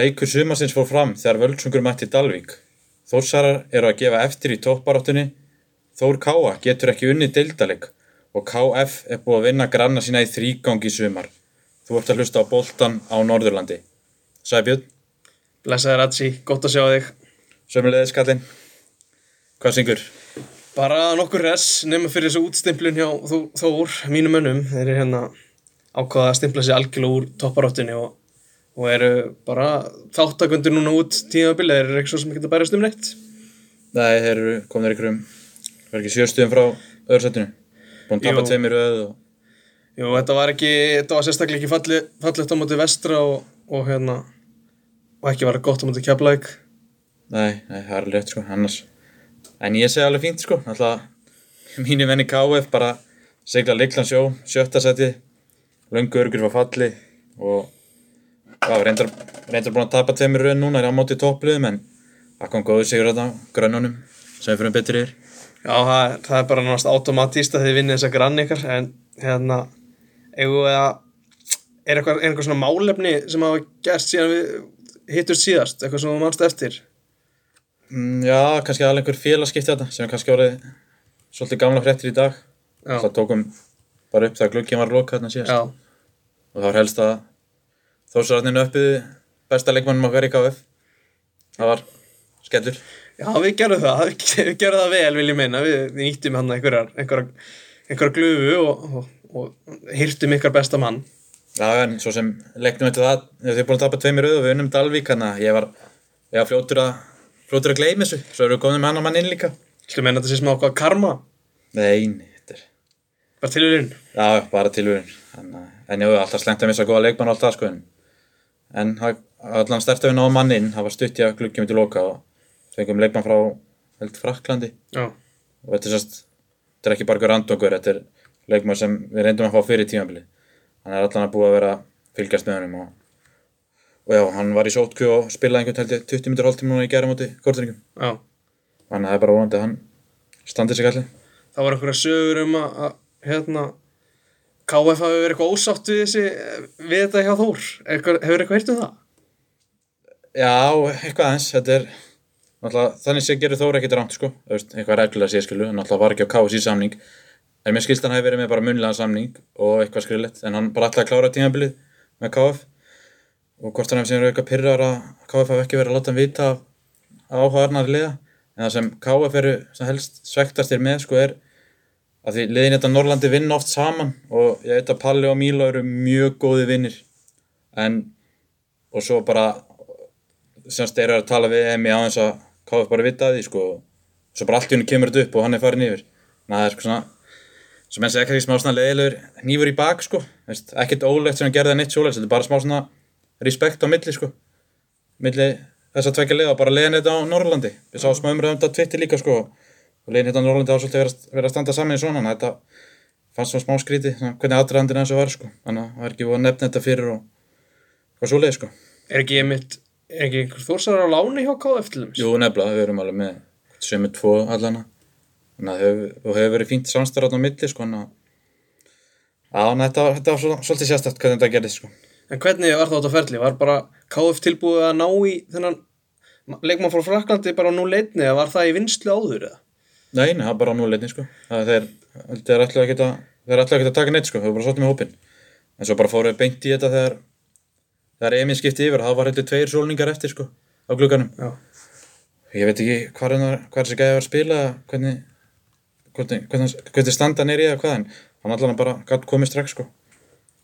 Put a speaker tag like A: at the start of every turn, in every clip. A: Leikur sumarsins fór fram þegar Völsungur mætti Dalvík. Þórsarar eru að gefa eftir í toppbaráttunni. Þór Káa getur ekki unnið deildaleg og KF er búið að vinna granna sína í þrígang í sumar. Þú ert að hlusta á boltan á Norðurlandi. Sæbjörn,
B: Blessaði Ratsi, gott að sjá þig.
A: sömulegðis kallinn. Hvað syngur?
B: Bara nokkur res, nema fyrir þessu útstimplun hjá Þó- Þór, mínum mönnum. Þeir eru hérna ákvaða að stimpla sig algjörlega úr topparáttinni og, og eru bara þáttakundur núna út tímabilið. Þeir eru ekki svo sem ekki að bærast um neitt.
A: Nei, þeir eru komnir ykkur um, verður ekki sjöstuðum frá öðursettinu. Búin að tapa
B: Jú.
A: tveimir öð og
B: Jú, þetta var ekki, þetta var sérstaklega ekki falli, fallegt á móti vestra og, og hérna, og ekki var gott á móti keflæk.
A: Nei, nei, það er alveg rétt sko, annars En ég segi alveg fínt sko, alltaf Mínu menni KF bara Sigla Liklan sjó, sjötta seti Löngu örgur var falli Og hvað, við reyndar, reyndar búin að tapa tveimur raun núna Er á móti toppliðum en Það kom góðu sigur þetta, grönnunum Sem fyrir um betri er
B: Já, það, er- það er bara náttúrulega automatíst að þið vinnið þessa grann ykkar, en hérna, eigum við að, er eitthvað, er eitthvað svona málefni sem hafa gerst síðan við hittum síðast, eitthvað sem þú mannst eftir?
A: mm, Já, kannski alveg einhver félagskipti þetta Sem er kannski orðið svolítið gamla fréttir í dag
B: Já,
A: Það tókum bara upp þegar glukkin var lokað þarna síðast
B: já,
A: og þá er helst að Þórsararnin uppiði besta leikmannum okkar í KF það var skellur
B: já, við gerum það, við gerum það vel, vil ég meina, við, við nýttum hann einhverjar, einhverjar, einhverjar glöfu og, og, og hýrtum ykkar besta mann.
A: já en svo sem leiknum eftir það þau eru búin að tapa tveimur auð og við unnum Dalvík hann að ég var ég var fljótur að fljótur að gleymi þessu svo eru við komin með hann að mann inn líka
B: Þú meina að þetta sé sem ákvað karma,
A: nei, nei, þetta er
B: bara tilurinn.
A: já, já, bara tilvíðun en, eh, en já, alltaf slengt að missa góða leikmann og allt það sko en- en það- allan stert að við náðum mann inn það var stutt í að gluggjum til loka og fengum leikmann frá held Fraklandi
B: Já,
A: og þetta er sérst þetta er ekki bara einhver randongur, þetta er leikmaður sem við reyndum að fá fyrir tímabili hann er allan að búa að vera að fylgjast með honum og, og já, hann var í sótkju og spilaði einhvern held ég 20 minnur hálftíma núna í gæra móti kortningum
B: já.
A: þannig að það er bara vonandi að hann standi sig allir
B: það var einhverja sögur um að, að hérna KF hafi verið eitthvað ósátt við þessi við þetta hjá Þór, eitthvað, hefur eitthvað heyrt um það?
A: já, eitthvað aðeins, þetta er náttúrulega, þannig sé gerir Þóra ekkert rámt sko Þú veist, eitthvað reglulega sé skilu, hann náttúrulega var ekki á KSI samning en mér skilst hann hafi verið með bara munlega samning og eitthvað skrillett en hann bara ætlaði að klára tímabilið með KF og hvort hann hefði sem verið eitthvað pyrrar að KF hafi ekki verið að láta hann vita af- af áhugaðarnar liða en það sem KF eru sem helst svektastir með sko er að því liðin þetta Norrlandi vinna oft saman og ég veit að Palli og Míla eru mjög góði vinnir en og svo bara semst þeir eru að tala við Emi á þess að KF bara vita að því sko svo bara allt í henni kemur þetta upp og hann er farin yfir þannig að það er sko svona sem enn segja kannski smá svona leiðilegur nýfur í bak sko Veist, ekkert ólegt sem hann gerði neitt svoleiðis þetta er bara smá svona respekt á milli sko milli þess að tvekja leiða bara leiðin þetta á Norrlandi við sá smá umræðum þetta á Twitter líka sko og leiðin þetta á Norrlandi á svolítið verið að, verið að standa saman í svona þannig að þetta fannst svona smá skríti svona, hvernig aðdraðandir hans var sko þannig að það er ekki búið að nefna þetta fyrir og, og svoleiði sko
B: Er ekki einmitt, er ekki einhver Þórsar á láni hjá KF til þess?
A: Jú, nefnilega, við erum alveg með sömu tvo allana þannig að hefur, og hefur verið fínt samstarf á milli sko, þannig að já, en þetta, var- þetta var svo, svolítið sérstætt hvernig þetta gerðist sko.
B: En hvernig var það þetta ferli? Var bara KF tilbúið að ná í þennan leikmann frá Fraklandi bara nú leitni eða var það í vinslu áður eða?
A: Nei, nei, það er bara á núleitni sko. það er, þeir, þeir ætlaðu ekki að þeir ætlaðu ekki að taka neitt, sko, þau voru bara svolítið með hópin en svo bara fóruðu beint í þetta þegar þegar Emil skipti yfir, það var heldur tveir sólningar eftir sko, á glugganum
B: Já.
A: ég veit ekki hvar, hann var- hvar þessi gæði var að spila hvernig hvernig, hvernig, hvernig standa nýri eða hvað en hann allan bara gætt komið strax sko,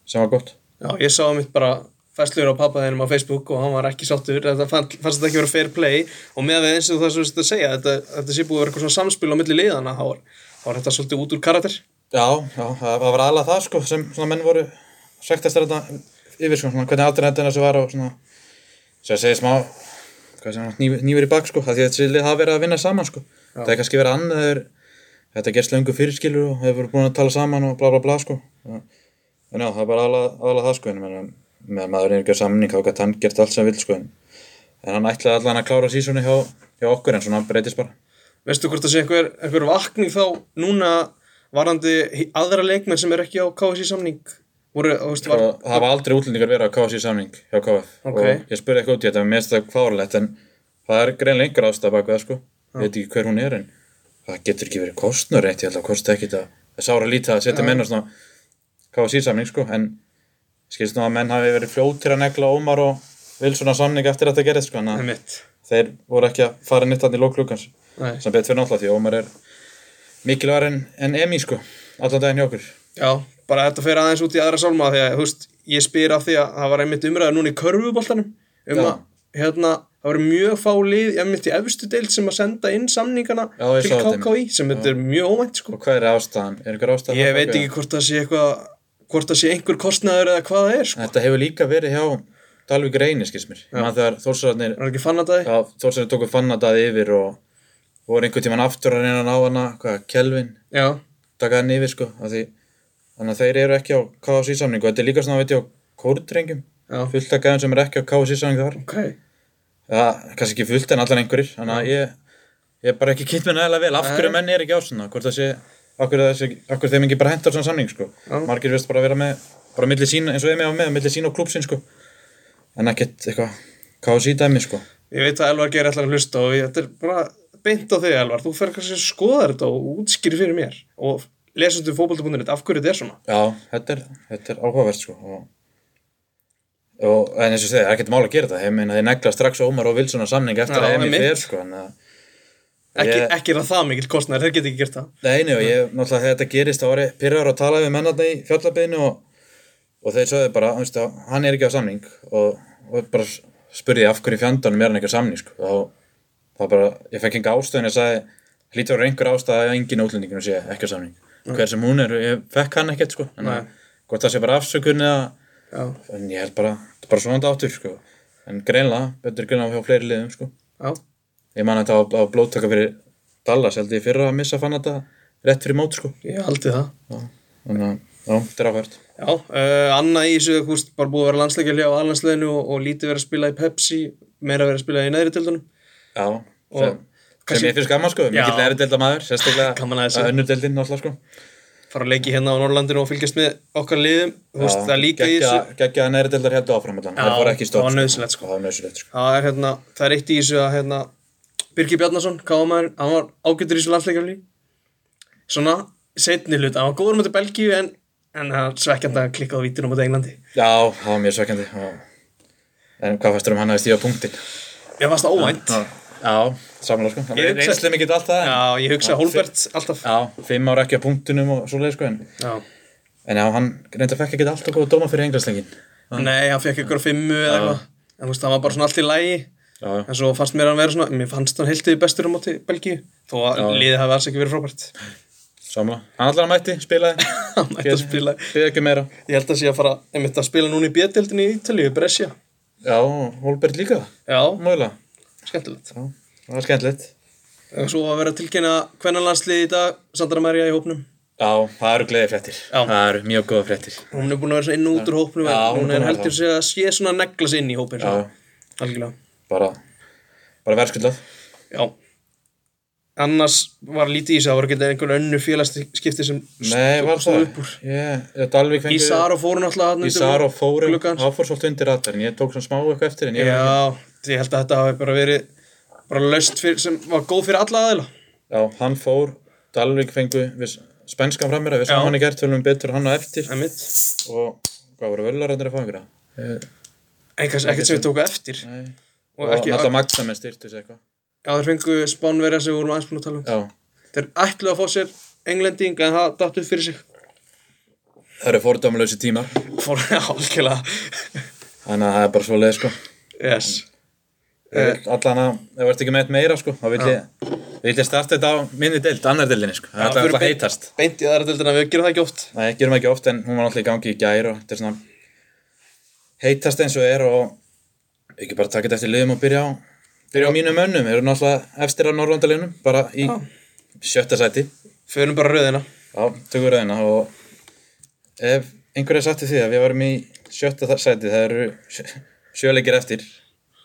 A: sem var gott
B: Já, ég sá mitt bara fæsluður á pappa þeinum á Facebook og hann var ekki sáttur, þetta fann, fannst þetta ekki vera fair play og með við eins og það sem þú veist að segja, þetta, þetta sé búið að vera eitthvað svona samspil á milli liðana, þá var, þá var þetta svolítið út úr karakter.
A: Já, já, það það var alveg það sko sem svona menn voru svektast þetta yfir sko, svona hvernig alternativin þessu var og svona sem að segja smá hvað sem nýfur, nýfur í bak sko, það því að þessi lið hafa verið að vinna saman sko það er kannski verið annað þegar þetta gerst löngu fyrirskilur og hefur verið búin að tala saman og bla bla bla sko en já, það er bara alveg það sko en ég meina, með maðurinn er ekki á samning þá gæti hann gert allt sem hann vill sko en, en hann ætlaði allan að klára sísunni hjá, hjá okkur en svona hann breytist bara
B: Veistu hvort það sé einhver, einhver vakning þá núna varandi hi- aðra leikmenn sem er ekki á KSI samning? voru, þú veist, var,
A: og það hafa aldrei útlendingar verið á KFC samning hjá KF
B: Ok.
A: og ég spurði eitthvað út í þetta, mér finnst það kvárlegt en það er greinlega einhver ástæða bak við það sko ég veit ekki hver hún er en það getur ekki verið kostnur eitt, ég held að kosti ekkit að það er sára lítið að setja menn á svona KFC samning sko, en skilst nú að menn hafi verið fljótir að negla Ómar og Vilsson að samning eftir að þetta gerist sko, en að
B: einmitt
A: þeir voru ekki að fara nýtt hann í lóklugans
B: Nei.
A: sem betur fyrir náttúrulega því að Ómar er mikilvægur en, en Emi sko, allan daginn hjá okkur
B: Já, bara þetta fer aðeins út í aðra sálma því að, þú veist, ég spyr af því að það var einmitt umræður núna í körfuboltanum um
A: Já.
B: að, hérna, það voru mjög fá lið einmitt í efstu deild sem að senda inn samningana
A: Já, ég
B: til
A: sá þetta einmitt.
B: KKI sem þetta er mjög óvænt, sko
A: og hvað er ástæðan, er einhver ástæðan
B: Ég veit ekki hvort það sé eitthvað hvort það sé einhver kostnaður eða hvað það er, sko
A: Þetta hefur líka verið hjá Dalvík Reyni, skils mér. Ég Man þegar Þórsararnir,
B: Það er ekki fann að það
A: já, Þórsararnir tóku fannadaði yfir og voru einhvern tíman aftur að reyna að ná hana, hvað, Kelvin,
B: Já,
A: taka hann yfir, sko, af því, þannig að þeir eru ekki á KFC samning og þetta er líka svona, veit ég, á kórdrengjum,
B: já,
A: fullt af gæðum sem eru ekki á KFC samning þar.
B: ok
A: Já, kannski ekki fullt en allan einhverjir, þannig að ég, ég er bara ekki kynnt mér nægilega vel, af hverju menn er ekki á svona, hvort það sé, af hverju, það sé, af hverju þeim ekki bara hentar svona samning, sko.
B: Já.
A: Margir veist bara að vera með, bara milli sín, eins og emi á með, milli sín og klúpsinn, sko. En ekkert eitthvað, KFC dæmi, sko.
B: Ég veit að Elvar gerir allar að hlusta og ég, þetta er bara beint á þig Elvar, þú fer kannski að skoða þetta og útskýri fyrir mér og lesundu fótbolta.net af hverju þetta er svona
A: Já, þetta er, þetta er áhugavert, sko. Og, og en eins og segja, það er ekkert mál að gera það, ég meina, þeir negla strax Ómar og Vilsson á samning eftir
B: Já,
A: að emi
B: einmitt.
A: fer, sko, en að,
B: ekki,
A: Ég-
B: ekki er það það mikill kostnæður, þeir geta ekki gert það
A: Nei, nei, og ég, náttúrulega þegar þetta gerist þá var ég pyrraður að tala við mennarna í fjallabiðinu og, og þeir sögðu bara, þú veist, að hann er ekki á samning og, og bara spurði ég af hverju í fjandanum er hann ekki á samning, sko þá, þá bara, ég fekk enga ástöðin ég sagði, hlýtur að vera einhver ástæða að engin útlendinginu sé ekki á samning hver sem hún er, ég fekk hann ekkert, sko en
B: Nei.
A: að, hvort það sé bara afsökun eða
B: Já,
A: en ég held bara, þetta er bara svona áttur, sko en greinlega, betur greinlega hjá fleiri liðum, sko
B: já,
A: ég man að þetta á, á blóttaka fyrir Dallas, held ég í fyrra að missa fann þetta rétt fyrir mót, sko
B: ég haldi það
A: Já, þannig að, já, þetta er áhvert.
B: Já, uh, Anna í þessu, þú veist, bara búið að vera landsleikjali á aðlandsleginu og, og lítið verið að spila í Pepsi meira verið að spila í neðri tildunum
A: Já,
B: Og
A: sem,
B: kannski-
A: sem ég fyrir skamma, sko,
B: Já.
A: mikill er delta maður,
B: Gaman að
A: sérstaklega
B: þessu.
A: önnur deildin, náttúrulega, sko.
B: fara að leiki hérna á Norrlandinu og fylgjast með okkar liðum þú veist, það er líka í þessu
A: Gekkja að næri deildar heldur áfram, allan,
B: Já,
A: það voru ekki stótt.
B: það var nauðsynlegt, sko.
A: Það var nöðsynlegt, sko.
B: það er, hérna, það er eitt í þessu að hérna, Birgir Bjarnason, kámaður hann var ágættur í þessu landsleikjali svona, setni hlut hann var góður mútið Belgíu en, en hann svekkjandi að klikkaði á vítinu mútið Englandi
A: Já, það var mjög svekkjandi. Já. En hvað fannst þér um hann að stíða punktin?
B: ég fannst það óvænt já,
A: Já, samlega, sko. Það
B: Ég
A: er
B: hugsa-
A: reynslega mikið allt það. en-
B: ég hugsa Holbert alltaf
A: Já, fimm ára ekki á punktunum og svoleið, sko, en,
B: já.
A: en já, hann reyndar fekk ekki alltaf góða dóma fyrir englandslegin.
B: Ah. nei, hann fekk ykkur fimmu
A: Ah.
B: eða eitthvað en þú veist, hann var bara svona allt í lægi
A: Já, já.
B: en svo fannst mér hann vera svona, mér fannst hann heiltið bestur á móti Belgíu, þó að
A: Ah.
B: liðið hafi alls ekki verið frábært
A: samlega. Hann allar mætti, spilaði.
B: hann mætti að spila
A: Við ekki meira.
B: ég held að sé að fara, einmitt að spila núna í B-deildinni í Ítalíu, Brescia
A: Já, Holbert líka,
B: já,
A: mögulega.
B: Skemmtilegt.
A: Já, það var skemmtilegt.
B: Og svo að vera að tilkynna hvernig landslið í dag, Sandra Maria í hópnum.
A: Já, það eru gleðið fréttir.
B: Já.
A: Það eru mjög góða fréttir.
B: Hún er búin að vera svona inn og út úr hópnum,
A: Já,
B: en
A: hún
B: hún
A: er
B: er
A: búin að
B: heldur sig að sé svona að negla sig inn í hópin.
A: Já,
B: Já. Algjörlega.
A: bara, bara verðskullað.
B: Já. Annars var lítið í sig, það voru ekki einhvern önnu félagsskipti sem
A: Nei, var
B: stóð
A: það.
B: upp úr.
A: Ég, Dalvik fengið...
B: Ísar og fórun alltaf hann
A: Ísar og fórum.
B: gluggans.
A: Það fór svolítið undir ratarinn. Ég tók svona smá eitthvað eftir en ég...
B: Já, ég held að þetta hafi bara verið bara löst fyrir, sem var góð fyrir alla aðeila.
A: Já, hann fór. Dalvik fengið við spænskan framir að við
B: Já.
A: saman í gert tölum betur hann á eftir.
B: Einmitt.
A: Og hvað voru völaröndir að fá einhverja?
B: En kannski ekkert sem við tóku eftir.
A: Nei.
B: Og
A: Og
B: ekki,
A: náttúrulega Magsamenn styrtis eitthvað.
B: já, þeir fengu spánverja sem við vorum aðeins búin að tala um.
A: Já.
B: Þeir ætluðu að fá sér englending en það datt upp fyrir sig.
A: Það eru fordæmuleysi tímar.
B: Fór álgelega.
A: Þannig að það er bara svo sko.
B: Yes. Eh,
A: Ég vil allan að, ef þú ert ekki með eitt meira sko, þá vil ég, vil ég starta þetta á minni deild, annar deildinni sko, það er
B: förum
A: alltaf
B: beint-
A: heitast.
B: Beint í aðra deildina, við gerum það ekki oft.
A: Það gerum ekki oft en hún var náttúrulega í gangi í gær og þetta er svona heitast eins og er og ekki bara taka þetta eftir liðum og byrja á, byrja á mínum önnum, við erum náttúrulega efstir á Norrlandaliðunum, bara í sjötta sæti,
B: Förum bara rauðina.
A: já, tökum við reyðina og ef einhverja satt við því að við varum í sjötta þa- sæti, það eru sjö- sjöleikir eftir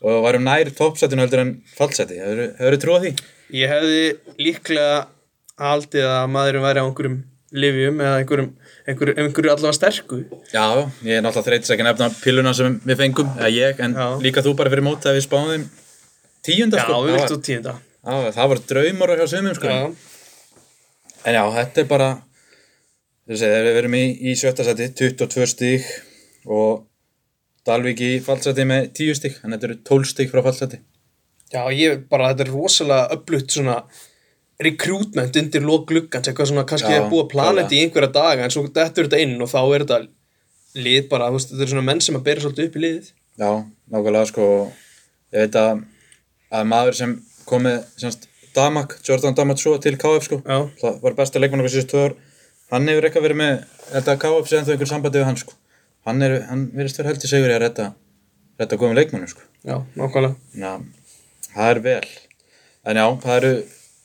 A: og varum nær toppsætinu heldur en fallsæti, hefur, hefur trúið því?
B: Ég hefði líklega haldið að maðurinn væri á einhverjum livjum eða einhverjum, einhverju, einhverju allavega sterku
A: Já, ég er náttúrulega þreytis ekki að nefna pilluna sem við fengum, eða ég, en
B: Já.
A: líka þú bara fyrir mót þegar við spáðum þeim tíunda
B: Já,
A: sko.
B: við
A: Það
B: viltu
A: var-
B: tíunda
A: Já, það var draumur hjá sumum sko.
B: Já,
A: En já, þetta er bara þú veist, við erum í, í sjötta seti 22 stík og Dalvík í fallseti með 10 stík, en þetta eru 12 stík frá fallseti.
B: já ég bara, þetta er rosalega upplutt svona recruitment undir lók gluggans eitthvað svona kannski
A: Já,
B: er búið að plana
A: klálega.
B: þetta í einhverja daga en svo dettur þetta inn og þá er þetta lið bara, þú veist, þetta er svona menn sem að bera svolítið upp í liðið
A: Já, nákvæmlega sko ég veit að, að maður sem kom með semst, Damak, Jordan Damak svo til KF sko,
B: Já.
A: það var besta leikmann okkur síðust tvö ár, hann hefur eitthvað verið með þetta KF séðan þau einhver sambandi við hann sko hann, er, hann verðist verið heldur segur í að redda redda góðum leikmannu sko
B: Já, nákvæmlega
A: Já, það er vel en já, það eru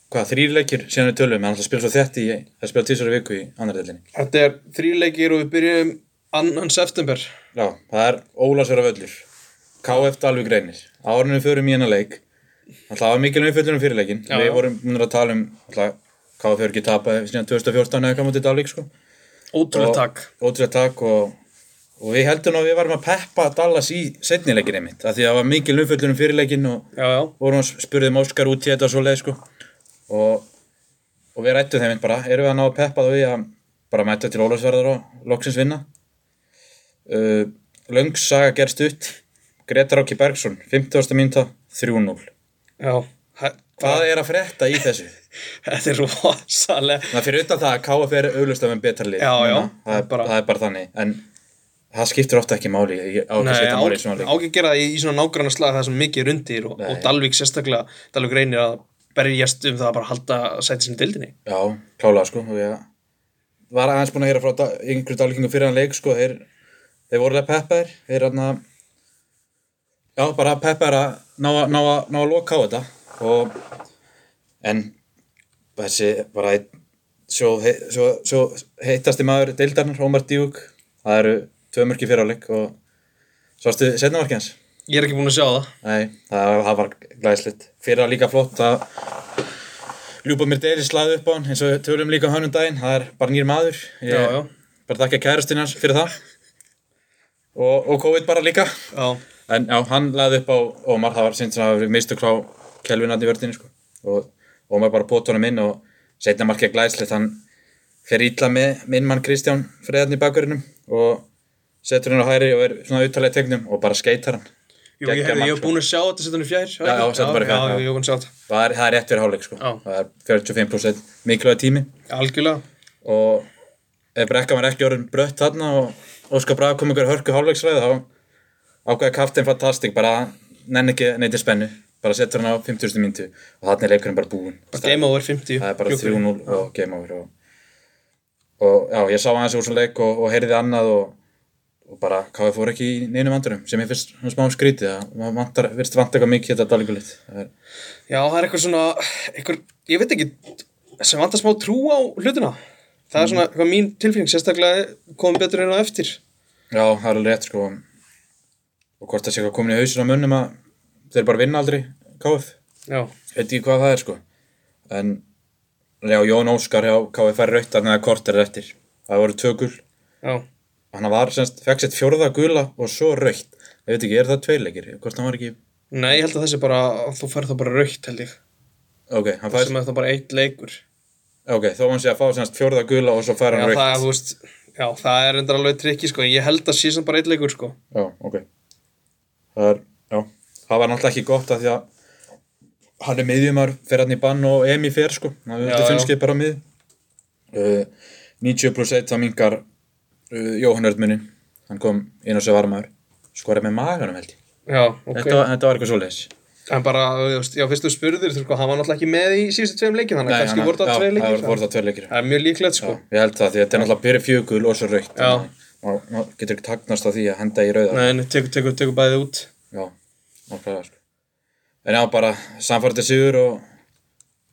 A: hvað, þrír leikir síðan við tölum, en alltaf spila svo þett í það spila tísara viku í annar delinni
B: Þetta er þríleikir og við byrjum annan september
A: Já, það er Ólasverða völlur KF Dalvík reynir Árunum við förum í hennar leik Alltaf var mikil umfjöllunum fyrir leikin
B: Já, já.
A: Við vorum munir að tala um alltaf, KF hefur ekki tapað síðan 2014 eða hvað mútið Dalvík sko.
B: Ótrúlega
A: Og-
B: takk
A: Ótrúlega takk og, og við heldum að við varum að peppa Dallas í setni leikin einmitt af því að það var mikil umfjöllunum fyrir leikin og
B: Já, já,
A: vorum að spurðum Óskar út í þetta og svo leið sko og, og við rættum þeim einmitt bara, erum við að ná að peppa þau í að bara mæta til Ólafsverðar og loksins vinna uh, Löngs saga gerst ut Gretar Áki Bergson, 50. mínúta 3-0
B: já Hæ-
A: Hvað er að frétta í þessu?
B: Þetta er rosalega
A: Það fyrir utan það að KF er auglust af einn betra lið
B: Já,
A: núna.
B: já,
A: það, er bara... það er bara þannig en það skiptir ofta ekki máli í- á ekki að
B: Nei,
A: skipta máli í svona
B: á
A: leik
B: ekki gera það í, í svona nágrann slag það sem mikið er undir og, og Dalvik sérstaklega, Dalvik reynir að berjast um það að bara halda að sæti sinni dildinni
A: Já, klálega sko og ég var aðeins búin að heyra frá da- yngri dálíkingu fyrir hann leik sko þeir, þeir vorulega peppaðir þeir hann að já, bara peppaðir að ná, að- ná, að- ná að loka á þetta og en þessi bara einn svo, hei- svo, svo heittasti maður deildarnar, Ómar Díuk það eru tvö mörki fyrir á leik og svarstu setnamarki hans
B: Ég er ekki búin að sjá það
A: Nei, það, það var glæslitt. Fyrir að líka flott að ljúpa mér deilir slaði upp á hann eins og við tölum líka um hann um daginn. Það er bara nýr maður. Ég
B: Já, já.
A: Bara þakka kærastinn hans fyrir það. Og, og COVID bara líka.
B: Já,
A: En já, hann laði upp á Ómar. Það var sínt sem að við mistu klá kelvinarni í vördinni, sko. Og Ómar bara bótt honum inn og setna markið glæslitt. Hann fer ítla með minn mann Kristján Freyðarn í bakverðinum og setur hann á hæri og er svona uttalega tegnum og bara skeitar hann.
B: Jú, ég,
A: Geggjað
B: hef,
A: mark,
B: ég hef
A: sko.
B: búin að sjá þetta setja hann í fjær
A: Já, já, settu bara í fjær,
B: Já,
A: já.
B: ég hef búin að sjá þetta
A: Það er, það er rétt fyrir hálfleik sko.
B: Já.
A: Það er 45% mikilvæg tími
B: Algjörlega
A: og ef brekkan var ekki orðin brött þarna og Óskar Braga kom ykkur hörku hálfleiksræði þá ákveða kaftin fantastik bara nenn ekki neyti spennu bara setur hann á 5000 myndu og þarna er leikurinn bara búinn
B: Game over 50
A: það er bara
B: Jú,
A: 3-0 og game over og, og já, ég sá aðeins úr svona leik og, og heyrði annað og, og bara KF fór ekki í neinum andurum sem ég finnst svona smá skrítið að maður vantar, virðist vanta eitthvað mikið í þetta dalíkulit það er
B: Já, það er eitthvað svona eitthvað, ég veit ekki sem vantar smá trú á hlutina það er svona
A: Mm.
B: eitthvað mín tilfinning sérstaklega komum betur inn á eftir
A: Já, það er alveg rétt sko og hvort það sé eitthvað komin í hausin á munnum að þeir bara vinna aldrei KF
B: Já,
A: veit ekki hvað það er sko en já, Jón Óskar hjá KF er rautt að neða kort er eftir það voru tvö gul
B: já,
A: hann var semst, fekk sett fjórða gula og svo rautt ég veit ekki, er það tveilegir hvort hann var ekki
B: nei, ég held að þessi bara þú færð það bara raukt held ég
A: ok, hann fær,
B: sem er það bara eitt leikur Já,
A: ok, þó hann sé að fá semst fjórða gula og svo fær hann
B: það er,
A: rautt
B: þú veist, já, það er endur alveg trikki sko, ég held að sé sem bara eitt leikur sko
A: já, ok það er, já, það var náttúrulega ekki gott af því að hann er miðjumar fer hann í bann og Emi fer sko það er
B: Já, já.
A: finnskið bara mið uh, 90 pluss 1 það mingar uh, Jóhann Örnmunni hann kom inn og sér varmaður skorað með maganum held ég
B: Já, ok,
A: þetta, var- þetta var eitthvað svoleiðis
B: en bara, þú veist, já, fyrst þú spurður sko, hann var náttúrulega ekki með í síðustu tveim leikjum þannig að kannski voru það tvei
A: það
B: leikjum
A: voru það tveir leikir
B: það er mjög líklegt sko
A: ég held það því að þetta er náttúrulega byrja fjögul og svo raukt
B: Já.
A: Má- má- getur ekki tagnast á því að henda í rauða
B: Nei, nei, tekur, tekur, tekur bæðið út
A: Já, nákvæmlega sko. En já, bara samfærdi sigur og,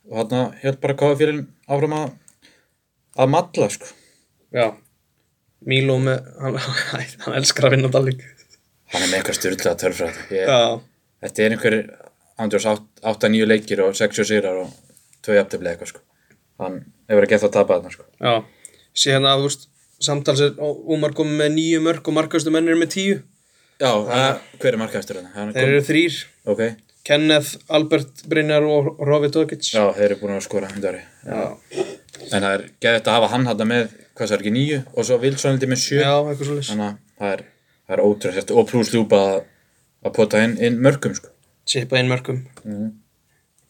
A: og hann held bara KF fyrir áfram að að matla sko.
B: Já Míló með, hann, hann elskar að vinna dalík
A: Hann er með eitthvað styrlað törfræði. Ég,
B: Já,
A: þetta er einhver ándjós 8-9 leikir og 6 sigrar og 2 jafntefli eitthvað sko. Hann hefur ekki eftir að tapa þarna sko.
B: já sé hérna að, þú veist, samtals er Ómar komið með nýju mörg og markastu menn er með tíu.
A: Já, að, hver er markastur þetta?
B: Þeir eru þrýr.
A: Ok,
B: Kenneth, Albert, Brynjar og Rovi Tókic.
A: já, þeir eru búin að skora hundari.
B: já,
A: En það er geðið að hafa hann hann með, hvað sér ekki, níu og svo Wilson heldur með sjö.
B: já, eitthvað svo
A: Þannig að það er, það er ótrúlegt og pluss ljúpa að, að pota inn, inn mörgum sko.
B: Sippa inn mörgum. Mm.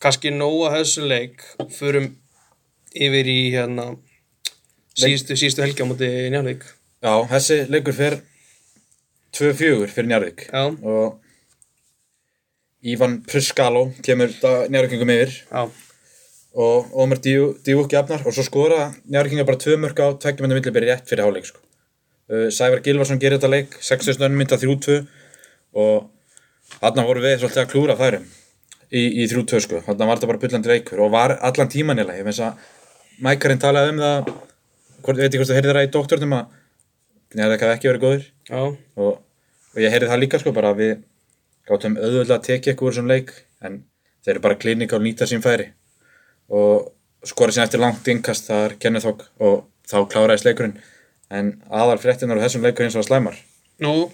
B: Kanski nóg að þessu leik förum yfir í hérna síðustu, síðustu helgi á móti Njarvík.
A: Já, þessi leikur fer 2-4 fyrir Njarðvík
B: Já.
A: og Ivan Pruskaló kemur Njarðvíkingum yfir
B: Já,
A: og Ómar Díú- Díúk jafnar og svo skora Njarðvíkingar bara tvö mörg á tveggjum minnum villibir rétt fyrir háleik sko. Uh, Sævar Gilvarsson gerir þetta leik 61 mynda 3-2 og þarna voru við svolítið að klúra færum í, í 3-2 sko þarna var þetta bara bullandi leikur og var allan tíman í leik ég finnst að Mækarinn talaði um það hvort, veit ég hvort þú heyrði það í doktornum að Njarðvík hafi ekki verið góðir
B: já,
A: og, og ég heyrði það líka sko bara að við gáttum auðvöldlega að tekið eitthvað úr þessum leik en þeir eru bara klinika og nýta sín færi og skora sín eftir langt innkast þar kennið þók og þá kláraðist leikurinn en aðal fréttinar á þessum leikur eins og slæmar
B: nú,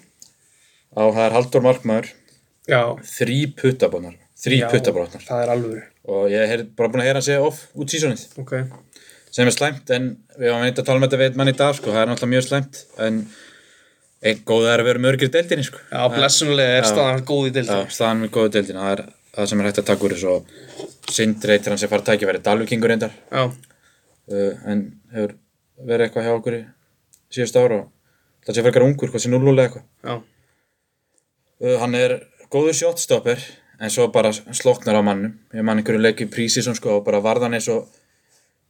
A: á það er Haldur Markmaður
B: já,
A: þrý puttabónar þrý
B: Já,
A: puttabónar
B: það er alvöru.
A: og ég hef bara búin að heyra hann segja off út sísonið
B: Ok,
A: sem er slæmt en við varum neitt að tala um þetta við einn mann í dag sko, það er náttúrulega mjög slæmt en einn góð er að vera mörgir í deildinni sko.
B: já, blessunlega er staðan góð í
A: Já,
B: deildin.
A: staðan með góðu deildina, það er það sem er hægt að taka úr þessu og Sindri eitir hann sem fara að tækja verið Dalvíkingur reyndar
B: Já,
A: uh, en hefur verið eitthvað hjá okkur í síðust ára og það sé frekar ungur, hvað sé núlulega eitthvað
B: já,
A: uh, Hann er góður shotstopper en svo bara sloknar á mannum ég man einhverju leik í prísi sem sko og bara varðan eins og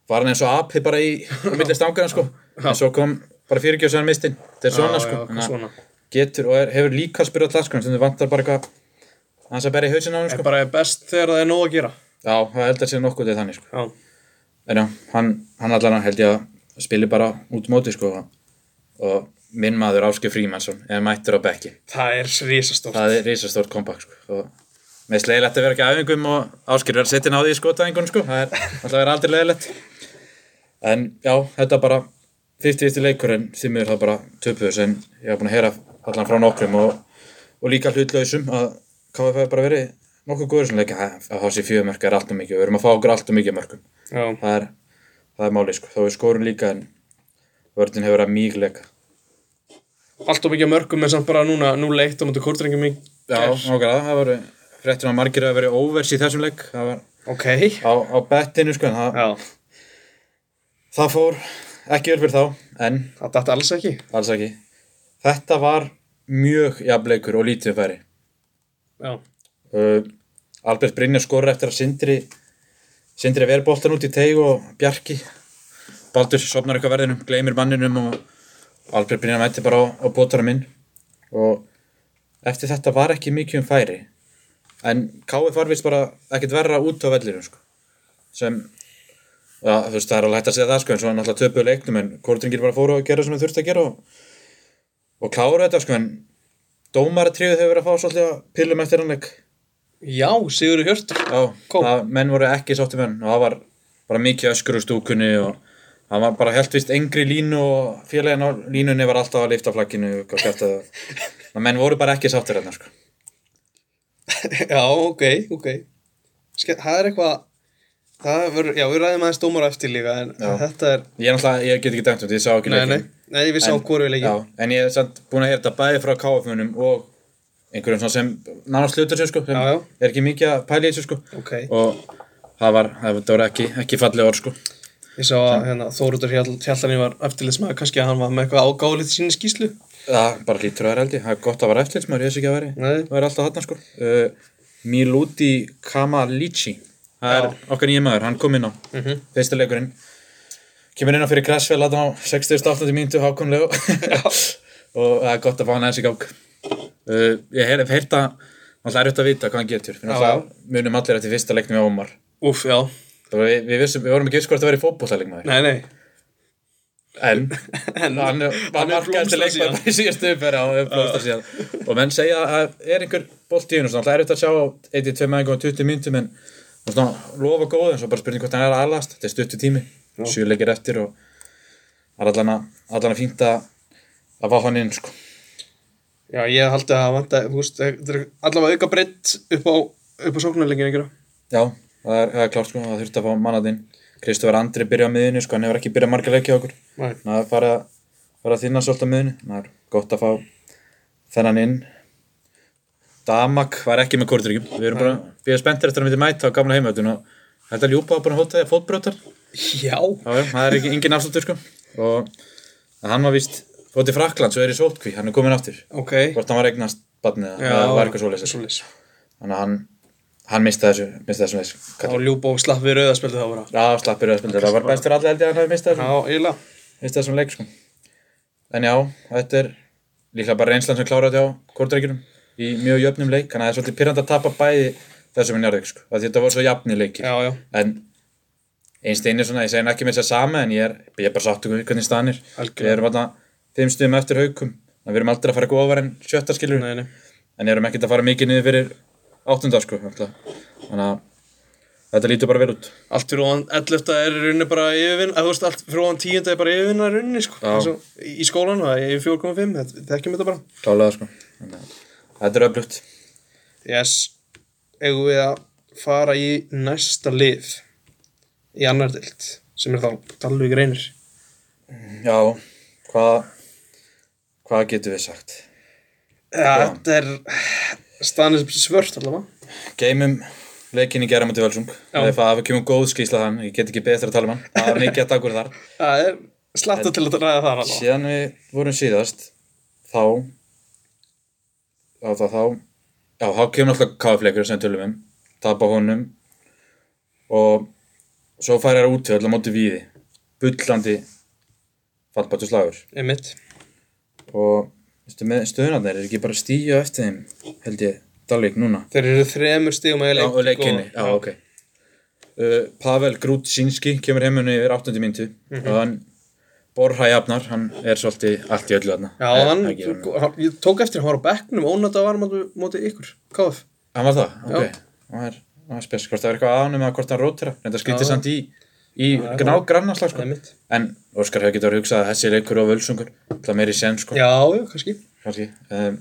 A: varðan eins og api bara í milli stangarna sko en svo kom bara fyrirgjóðsvæðan mistinn þetta er svona
B: já,
A: sko
B: já,
A: Þannig
B: eitthvað
A: að
B: svona.
A: getur og er, hefur líka spyrjað það sko en það vantar bara eitthvað hans að berja í hausinn á hann sko
B: Er bara best þegar það er nóg að gera.
A: Já, það eldar sér nokkuð til þannig sko.
B: Já,
A: En já, hann, hann allan held ég að spili bara út móti sko og minn maður Áske Frímannsson er mættur á bekki.
B: það er risastórt.
A: Það er risastórt kompakt sko og með slegilegt að vera ekki á æfingum og Ásker verið að setja náði í skotæfingun sko. Það er alltaf verið aldrei leiðilegt. En já, þetta bara 50-50 leikur en því miður það bara töpuðus en ég hef búin að heyra allan frá nokkrum og, og líka hlutlausum að KFF er bara verið nokkuð góður sem leika að hási fjöðumörk er allt og mikið og við erum að fá okkur allt og mikið af mörkum
B: Já,
A: það er, það er máli sko. þá við skorum líka en vörðin hefur að mýgleika
B: allt og mikið af mörgum en samt bara núna, nú leitt á móti kórtringum í
A: já, nokkala, það voru fréttin að margir að vera óvers í þessum leik það var
B: Ok,
A: á, á bettinu sko en það,
B: já,
A: það fór ekki vel fyrir þá en
B: það datt alls ekki.
A: alls ekki þetta var mjög jafnleikur og lítið færi
B: Já,
A: uh, Albert Brynjar skorur eftir að Sindri Sindri ver boltan út í teig og Bjarki Baldur sopnar eitthvað verðinum, gleymir manninum og Albert Brynjar mætti bara á, á bótarum inn og eftir þetta var ekki mikið um færi en KF var vist bara ekkert verra út á vellirum sko. sem ja, þú veist það er alveg hægt að segja það sko en svo er náttúrulega töpuðu leiknum en kórdringir bara fóru að gera sem þau þurfti að gera og, og klára þetta sko en dómaratriðu hefur verið að fá svolítið að pillum eftir hann leik
B: já Sigurður Hjörtur.
A: Já,
B: Kóp.
A: það, menn voru ekki sáttu menn og það var bara mikið öskur úr stúkunni og það var bara helt vist engri línu og félagin á línunni var alltaf að lifta flagginu og kæfta það. Ná, menn voru bara ekki sáttur hérna sko.
B: Já, ok, ok. Ske það er eitthvað, það verður, já, við ræðum aðeins dómar á eftir líka en
A: Já.
B: þetta er,
A: Ég er náttúrulega, ég get ekki dæmt um þetta, ég sá ekki
B: nei, nei,
A: leikinn.
B: nei, við sáum hvori við leikjum.
A: Já, en ég er samt búin að heyra þetta bæði frá KF-munum og einhverjum svona sem nánast hlutur sér sko, sem
B: Já, já.
A: er ekki mikið að pæla í þessu sko.
B: Ok,
A: Og það var, það voru ekki, ekki fallið orð sko.
B: ég sá að hérna, Þóruður Hjallarni var eftirlitsmaður, kannski að hann var með eitthvað ágáðlið sín í skýslu.
A: Það bara hlýtur að vera held ég, það er gott að vera eftirlitsmaður, ég veist ekki að veri.
B: Nei.
A: Það er alltaf þarna sko. Uh, Miluti Kamalici, það er okkar nýjum maður, hann kom inn á,
B: Mhm.
A: fyrsta leikurinn. Kemur inn á fyrir Crashfell að á 68. mínútu hákunlegu og það er gott að fá hann aðeins í gang. Uh, ég hef heyrt að, alltaf er auðvitað að vita hvað hann getur, fyrir
B: Já,
A: alltaf munum allir eftir fyrsta leiknum með Ómar.
B: Úf, já,
A: Það var, við, við, vissum, við vorum ekki viss hvort það væri fótbollaleikmaður,
B: nei, nei.
A: en
B: En,
A: hann var markaðist
B: blómstrar
A: að leikma
B: síðan.
A: bara í síðastu uppverða og hefur blómstað síðan og menn segja að er einhver bolt í hún og svona, það er auðvitað að sjá á 1-2 mæðingum og 20 myndum en og svona lofa góð en svo bara spurning hvort hann er að aðlast þetta er stuttu tími, sjö leikir eftir og það er allan að, allan að fínt að, að fá hann inn sko.
B: Já, ég haldi að vanda, þú veist, þetta er allavega auka breytt upp á, upp á sóknarleikin einhverja.
A: Já, það er, það er klart sko, það þurfti að fá mannatinn. Kristofur Andri byrja á miðinu sko, hann hefur ekki byrjað marga leikja okkur.
B: Nei.
A: Það er farið að, farið að þinna svolítið á miðinu, það er gott að fá þennan inn. Damak var ekki með kórdryggjum, við erum bara, við erum spenntir eftir að myndi mæta á gamla heimöldun og þetta ljúpa var bara hótaði að fótbrjótar.
B: Já.
A: Já, já, það er ekki, engin afslutur sko. Og hann var víst, fótið Frakland, svo er í sótkví, hann er komin aftur.
B: Ok.
A: hvort hann var eignast badnið eða það var eitthvað svoleiðis
B: Svoleiðis.
A: þannig að hann, hann misti þessu misti þessu leis
B: Þá ljúpa og slapp við rauðarspildu þá bara.
A: já, slappir öðspildur, það var best fyrir alla held ég að hann hafi mistið
B: Já,
A: þessu,
B: eiginlega.
A: misti þessum leik sko. en já, þetta er líklega bara reynslan sem kláraði á kvortreikjunum í mjög jöfnum leik, þannig að það er svolítið pyrrand að tapa bæði þessum í njárvík sko. af því þetta voru svo jafni leikir
B: Já, já.
A: en einstein er svona, ég segi hann ekki með þess að sama en ég er, ég er bara sáttu hvernig staðanir
B: Algjörlega.
A: við erum þarna fimm stuðum eftir haukum þannig að við erum aldrei að fara eitthvað ofar en sjötta skilur
B: Nei, nei.
A: en erum ekkert að fara mikið niður fyrir áttunda sko náttúrulega. þannig að þetta lítur bara vel út
B: Allt fyrir ofan 11. er í rauninni bara yfirvinn, að þú veist, allt fyrir ofan 10. er bara yfirvinn að rauninni, sko.
A: Já.
B: Svo, í í skólan, það er yfir 4,5, þetta- þekkjum þetta bara.
A: klálega sko Þannig að þetta er öflugt
B: Yes. Eigum við að fara í næsta lið í annar dild, sem er þá Dalvík reynir.
A: já, hvað hvað getum við sagt
B: Já, þetta er staðan er svört allavega.
A: geimum leikin í gera mútið völsung ef að við kemum góð skýsla þann ég get ekki betra að tala um hann það var mikið að dagur þar
B: Það er slatta til að ræða það allavega.
A: síðan við vorum síðast þá þá þá þá já, þá kemur alltaf káfleikur sem við tölum um tapa honum og svo fær þær út öll á móti víði bullandi fallbættu slagur
B: Einmitt.
A: og veistu, með stöðunarnir er ekki bara að stíja eftir þeim held ég dalvík núna
B: Þeir eru þremur stígum að sko.
A: já, og leikinni, já, ok uh, Pavel Grútsinski kemur heimunni yfir 8. myndu
B: Mhm.
A: og hann Borra jafnar, hann er svolítið allt í öllu þarna
B: Já,
A: Eh,
B: hann,
A: ekki hann.
B: ég tók eftir hann var á bekknum ónætt að var mótið ykkur. KF.
A: Hann var það, ok. Það er, það er spes, hvort það er eitthvað að honum eða hvort hann rótira. Reynda skrítið samt í, í gná grannarslag, sko.
B: Einmitt.
A: En Óskar hefur getið að hugsa að þessi leikur og völsungur, það meiri sen, sko.
B: Já, já, kannski.
A: Kanski. Um,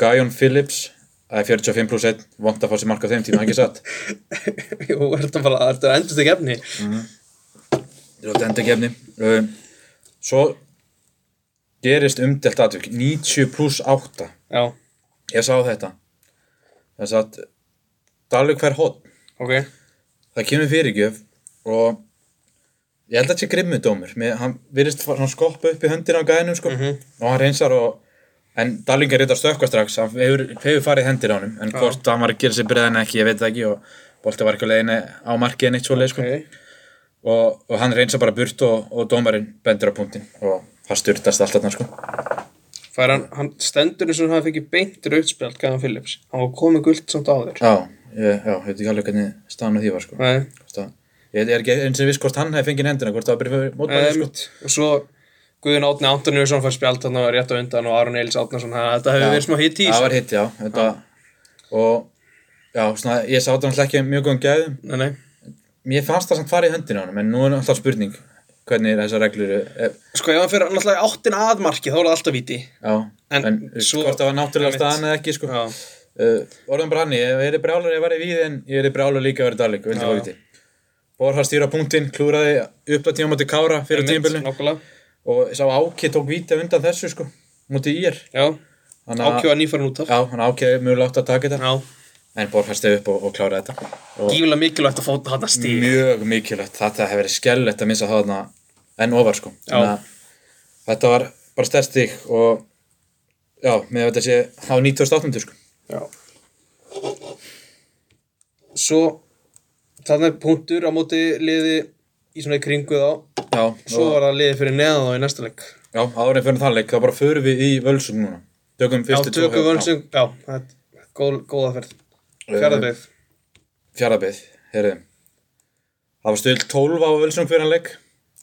A: Gajon Phillips, það er 45 pluss 1, vond að fá sér mark á þeim tíma, ekki satt.
B: Jú, er þetta bara, þetta er endur til gefni.
A: Þetta er átt enda gefni. Um, svo gerist umdelt atvik, 90 pluss 8.
B: Já,
A: Ég sá þetta. Þess að Dalvik fær hotn.
B: ok.
A: það kemur fyrirgjöf og ég held að þetta sé grimmið dómur Mér, hann virðist svona skoppa upp í höndina á gæðinum sko, og hann reynsar og en Dalvingar reyndar stökkva strax hann hefur, hefur farið hendir á hann en hvort hann var að gera sér breiðan eða ekki, ég veit það ekki og bolti var ekki leiðinni á markið en eitt svo leið sko.
B: Ok.
A: og, og hann reynsar bara burt og, og dómarinn bendur á punktin og það styrtast allt þarna sko.
B: Fær hann, hann stendur eins og hann fengi beint rautspjald gæðan Phillips. Hann var komið gullt samt áður.
A: já, ég, já, ég veit ekki alveg hvernig staðan á því var sko.
B: Nei,
A: Hvort að- ég er ekki eins og viss hvort hann hefði fengið hendina hvort það var bara mótbæðið sko.
B: Einmitt. Og svo Guðjón Átni Áttanjóðsson fær spjald hann og rétt á undan og Aron Eils Átnason þannig að þetta hefur verið smá hitt í sko.
A: Það
B: þessu.
A: var hitt, já. Þetta, og já, svona, ég sá þetta náttúrulega ekki mjög góðum gæðum.
B: Nei, nei.
A: Mér fannst það samt farið í höndina á hann, en nú er alltaf spurning hvernig þessar reglur eru. Eh,
B: Sko ef hann fyrir náttúrulega í áttin að marki þá er það alltaf viti.
A: Já,
B: En
A: en,
B: svo-
A: hvort það var náttúrulega
B: einmitt.
A: staðan eða ekki, sko.
B: Já.
A: Uh, orðan bara hann, ég er brjálur, ég var í víð, en ég er brjálur líka að vera dalík, vildi fá viti. Borhar stýra punktinn, klúraði upp að tíma mútið Kára fyrir tímbilinu
B: Nákvæmlega.
A: og sá Áki tók víti undan þessu, sko, mútið Ír.
B: Já.
A: Þannig að-
B: Ákjöfa nýfarinn út af.
A: Já, hann Áki mjög látt að taka þetta,
B: Já.
A: en Borhar stegi upp og, og kláraði þetta. Og
B: Gífulega mikilvægt að fóta þetta stíð.
A: mjög mikilvægt þetta hefur verið skellett að missa þarna enn ofar sko Þannig að þetta var bara stærst stík og já, með þetta sé á 1908 sko
B: Já. Svo þarna er punktur á móti liði í svona í kringu þá.
A: já,
B: Svo
A: og,
B: var það liði fyrir neðan þá í næsta leik.
A: já árin fyrir þann leik þá bara förum við í völsum núna tökum
B: Já,
A: fyrstu hérna.
B: tökum vönsum. Já, það er góð, góða ferð. Fjarðabyggð.
A: fjaraðbyð, Eh, heyrðu það var stöðl 12 á völsum fyrir hann leik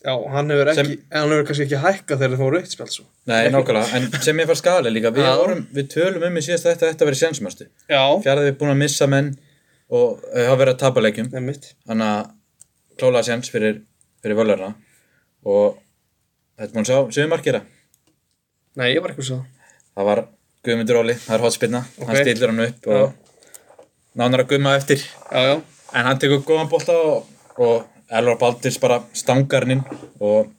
B: Já, hann hefur ekki, hann hefur kannski ekki hækkað þegar það fór rautt spjald svo.
A: nei, nákvæmlega, en sem ég fara skali líka við,
B: Já.
A: vorum, við tölum um í síðast að þetta þetta verið sénsmörstu,
B: Já.
A: fjaraðbyð búin að missa menn og eh, hafa verið að tapa leikjum
B: Nefnitt.
A: þannig að klála séns fyrir, fyrir völarna og Þetta búin að sjá sögumarkera.
B: Nei, ég var eitthvað svo.
A: Það var Guðmundur Óli, það er hotspinna. Hann
B: Ok.
A: stilur hann upp og nánar að gumma eftir.
B: Já, já.
A: En hann tekur góðan bolta og, og Elvar Baldur bara stangar hann inn og,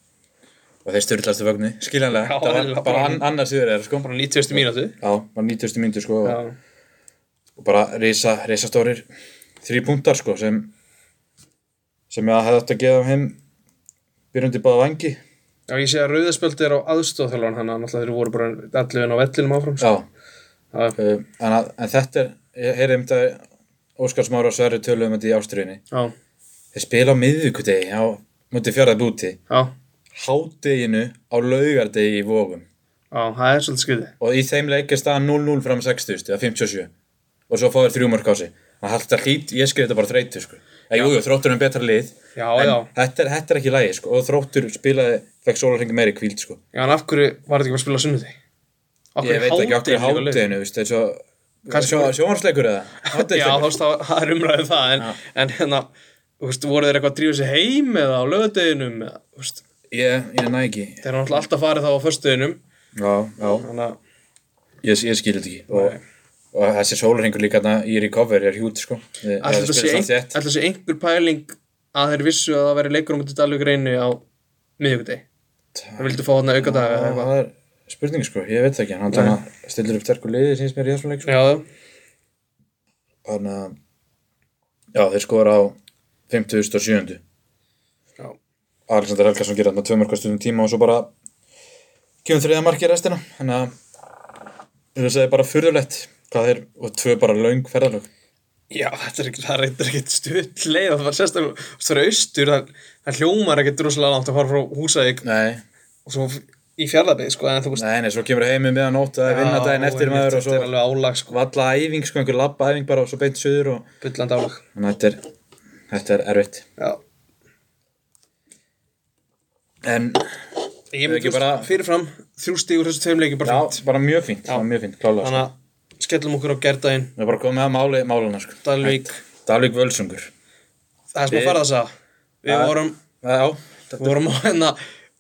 A: og þeir styrlastu vögnu, skiljanlega.
B: Já,
A: það
B: eðlilega,
A: var bara
B: bara-
A: an, annars yfir þeirra, sko.
B: Bara 90. mínútu.
A: Já, var 90. myndu, sko.
B: Já.
A: og- Og bara reysa, reysa stórir þrý punktar, sko, sem sem ég hefði átt að gefa þeim byrjandi báða vangi.
B: Já, ég sé að rauðaspjöld er á aðstofþjálfan hann, náttúrulega þeir voru bara allir inn á vellinum áfram. sko.
A: Já,
B: Já,
A: um, en, að, en þetta er, ég heyrði um þetta Óskar Smára og Sverri töluðu um þetta í ástriðinni.
B: já,
A: Þeir spila á miðvikudegi á múti fjárðar búti,
B: já,
A: hádeginu á laugardegi í vogum
B: já, það er svolítið skriði.
A: og í þeim leik er staðan 0-0 fram að 60, eða 57 og svo fá þér þrjú mörg á sig. Það hætti að hlýt, ég skriði þetta bara þreytu sko. Já, jú, jú, þróttur er um betra lið,
B: Já,
A: en
B: já,
A: Þetta, er, þetta er ekki lægi sko og þróttur spilaði, fekk sólarhengi meiri kvíld sko.
B: já, en af hverju var þetta ekki bara að spila á sunnuti?
A: Ég veit ekki okkur hádeginu, veist, eins og
B: Kannski-
A: sjóhansleikur eða?
B: Já,
A: Hádegisleikur?
B: þú veist, það það er umræðið um það, en, en hérna, þú veist, voru þeir eitthvað að drífa sig heim eða á lögadeginum, eða, þú veist,
A: Ég, ég næ ekki.
B: þeir eru náttúrulega alltaf farið þá á föstudeginum,
A: Já, já.
B: þannig að,
A: Ég, ég skil þetta ekki og, og þessi sólurhengur líka þarna í recovery er hjút sko Þið- það
B: ætla
A: spilast allt
B: þessi
A: í
B: ein,
A: ett.
B: ætli sé einhver pæling að þeir vissu að það væri leikur á mútið Dalvíkreinu á miðjögudegi, það vildu fá þarna auka dag eða eitthvað.
A: það er spurning sko, ég veit það ekki hann þannig að stillir upp sterkur liði síns mér í þessum leik sko.
B: Já, já.
A: þannig að já þeir skora á 57.
B: Já.
A: Alexander Helgarsson gerir þarna tvö mörg á stundum tíma og svo bara kemur þriða marki í restina þannig að það er bara furðulegt hvað þeir og tvö bara laung ferðalög
B: Já, þetta er ekkert, það er ekkert- ekkert stutt leið og það var sérstaklega, þú veist, það er austur það, það hljómar ekkert droslega langt að fara frá Húsavík
A: nei,
B: og svo í fjarlabið, sko, en þú veist
A: nei, nei, svo kemur heimið meðan nótt að vinna daginn eftir maður og
B: Þetta
A: svo
B: er alveg álag, sko,
A: valla æfing, sko, einhver labba æfing bara og svo beint söður og
B: byllandi álag
A: þannig að þetta er, þetta er erfitt
B: Já,
A: en
B: ég
A: Ekki
B: myndi bara...
A: bara-
B: fyrirfram þrjú stígur þessu tveim leikir bara fint
A: já, bara mjög fínt, já. mjög fínt, klálega sko.
B: Þannig að skellum okkur á gerdaginn,
A: við erum bara komið að máli, máluna sko.
B: Dalvík
A: Dalvík Völsungur
B: Það er sem að
A: Við-
B: fara þess að Við
A: Já.
B: vorum,
A: já,
B: vorum á hérna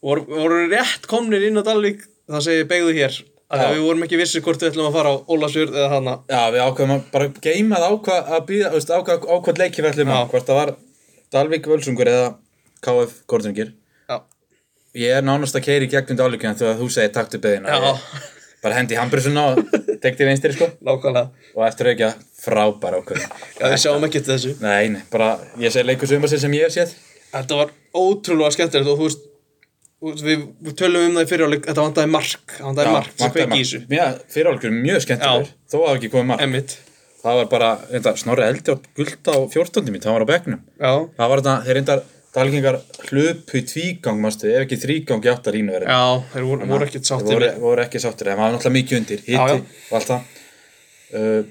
B: vorum, vorum rétt komnir inn á Dalvík það segi beigðu hér að
A: Já.
B: við vorum ekki vissir hvort við ætlum að fara á Ólasjörð eða hana
A: já, við ákveðum að bara geima það ákvað að býða, veist, ákvað, ákvað leiki við ætlum
B: Já.
A: að, hvort það var Dalvík Völsungur eða KF Kortungir
B: Já,
A: ég er nánast að keiri gegnum Dalvíkina þegar þú segir taktu beðina
B: já,
A: Ég bara hendi hambrusunna og tekti vinstri sko
B: nákvæmlega
A: og eftir ekki að frábæra okkur
B: Já, við sjáum ekki eftir þessu.
A: Nei, nei, bara ég segi leikur sumarsinn sem ég hef séð
B: Þetta var ótrúlega skemmtilegt og þú veist, þú veist, við, við tölum um það í fyrirháleik, þetta vandaði mark, það vandaði mark sem
A: vantaði
B: kveiki í þessu.
A: Já, fyrirháleikur er mjög skemmtilegur Þó að ekki komið mark
B: Emmitt.
A: Það var bara, þetta, snorri eldi og gulda á 14. minn, það var á bekknum
B: Já,
A: Það var þetta, þeir reyndar dalgingar hlupu í tvígang, mástu, ef ekki þrígang í áttar línu verið
B: já, þeir voru, voru ekkert sáttið
A: voru,
B: með.
A: voru ekki sáttir, það var náttúrulega mikið undir Hitti
B: Já, já.
A: og allt það uh,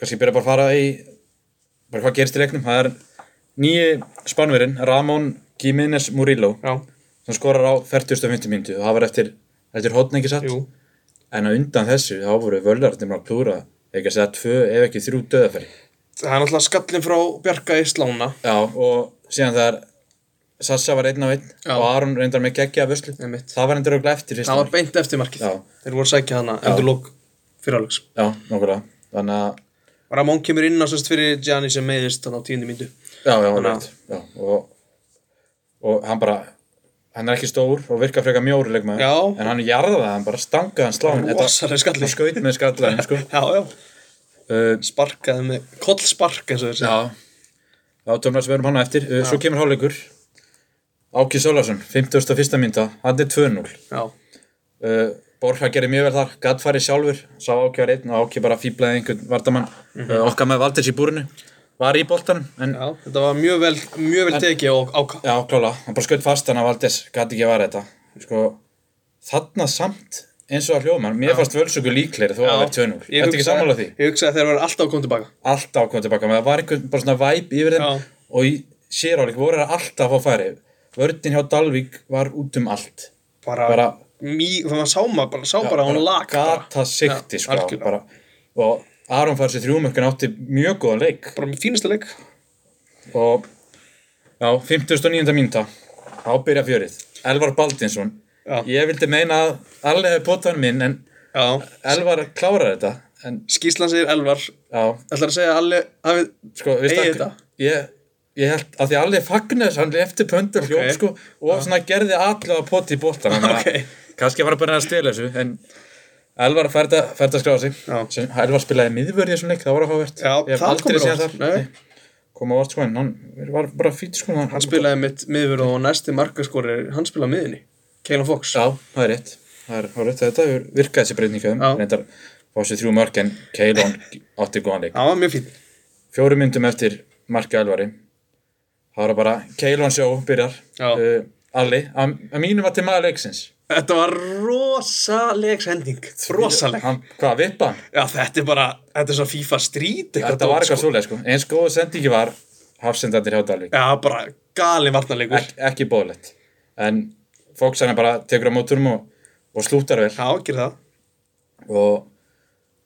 A: Kannski byrja bara að fara í bara hvað gerist í leiknum Það er nýji spánverinn, Ramón Giménez Murillo
B: Já,
A: sem skorar á 40-50 myndu og það var eftir, eftir hotn ekki satt
B: jú,
A: en að undan þessu þá voru völarnir að plúra ekki að segja tvö ef ekki þrjú döðafæri
B: það er náttúrulega skallin frá Bjarka í slána.
A: já og síðan það er Sassa var einn á einn
B: Já.
A: og Aron reyndar með geggja vöslu
B: Einmitt.
A: það var reyndar auðvitað eftir fyrsta
B: Það var
A: mark.
B: beint eftir markið.
A: Já.
B: Þeir voru að sækja hana, endur lók fyrirháleiks.
A: já, nokkulega þannig að
B: Ramón kemur inn á sérst fyrir Gianni sem meðist þannig á tíundu myndu.
A: já, já,
B: Þannig að-
A: right. já og, og hann bara hann er ekki stór og virkar frekar mjóri leikmaður
B: Já.
A: en hann jarðaði hann bara stangaði hann sláin
B: Rosalega
A: hann
B: skallin.
A: skaut með skallan sko.
B: Já, já,
A: uh,
B: sparkaði með, kollspark eins og þeir segja.
A: Já, já tölum við um hann á eftir Já. Svo kemur hálfleikur Áki Solarsson, 51. mynda Hann er 2-0
B: Já,
A: uh, Borja gerir mjög vel þar, gatt farið sjálfur Sá Áki var einn og Áki bara fýblaði einhvern Vardamann, uh, okkar með Valdís í búrinu Var í boltanum, en Já,
B: Mhm. já, þetta var mjög vel, mjög vel tekið og áka.
A: já klála, hann bara skaut fast hann að Valdís Gatt ekki að vara þetta sko, Þarna samt, eins og að hljóma Mér fannst völsöku líklegri þó að það er 2-0
B: Ég
A: Þetta ekki
B: hugsaði-
A: sammála því
B: Ég hugsaði að þeir verður alltaf að koma tilbaka
A: alltaf að koma tilbaka með það var einhvern bara svona væp yfir þeim
B: Já.
A: og í séráleik voru það alltaf að fá færi vördin hjá Dalvík var út um allt
B: Bara, bara
A: Bara-
B: mý, það var sá maður bara, sá bara að hún lag bara,
A: gata sikti
B: Já,
A: sko
B: algjörlega.
A: bara. og Aron fær sér þrjúmökkun átti mjög góðan leik
B: bara með fínasta leik
A: og já, 59. mínúta þá byrja fjörið Elvar Baldinsson
B: Já.
A: Ég vildi meina að allir hefði potan minn en
B: Já.
A: Elvar klárar þetta en
B: Skíslan segir Elvar.
A: já,
B: Ætlar að segja að Alli hafi...
A: sko, við
B: Eigi
A: stakk
B: þetta?
A: ég, ég held að því allir fagnaði þessu, hann eftir pöndu okay. hljóp sko, og svona gerði allu að poti í bóttan
B: Ok.
A: kannski var hann bara að stela þessu en Elvar færði að, færði að skráða sig
B: Já.
A: sem, Elvar spilaði miðvörði í þessum leik, það var áhugavert
B: Já,
A: ég hef
B: það
A: aldrei
B: komur
A: séð
B: óvart.
A: þar
B: Nei.
A: koma ávart sko en hann var bara fýt sko hann,
B: Hann spilaði mitt miðvörð og næsti markaskori, hann spilaði á miðinni. Keilan Fox.
A: já, það er rétt það er hárið þetta, hefur virkað þessi breytinga
B: Já.
A: reyndar fá sér þrjú mörg en Keilon átti góðan leik
B: Það var mjög fín.
A: fjórum myndum eftir markið Elvari það var bara Keilon sjó byrjar
B: Já.
A: uh, Alli, að, að mínum var til maður leiksins
B: Þetta var rosaleg sending. Rosaleg.
A: hann, hvað, vippa hann?
B: Já, þetta er bara, þetta er svo FIFA Street eitthvað.
A: þetta var
B: dót,
A: eitthvað svoleið sko eins góð sendingi var hafsendandir hjá Dalvik
B: sko. Já, bara gali varnarleikur.
A: Ek, ekki bóðlegt en fólks hann bara tekur á móturum og, og slútar vel
B: Já, ekki það.
A: og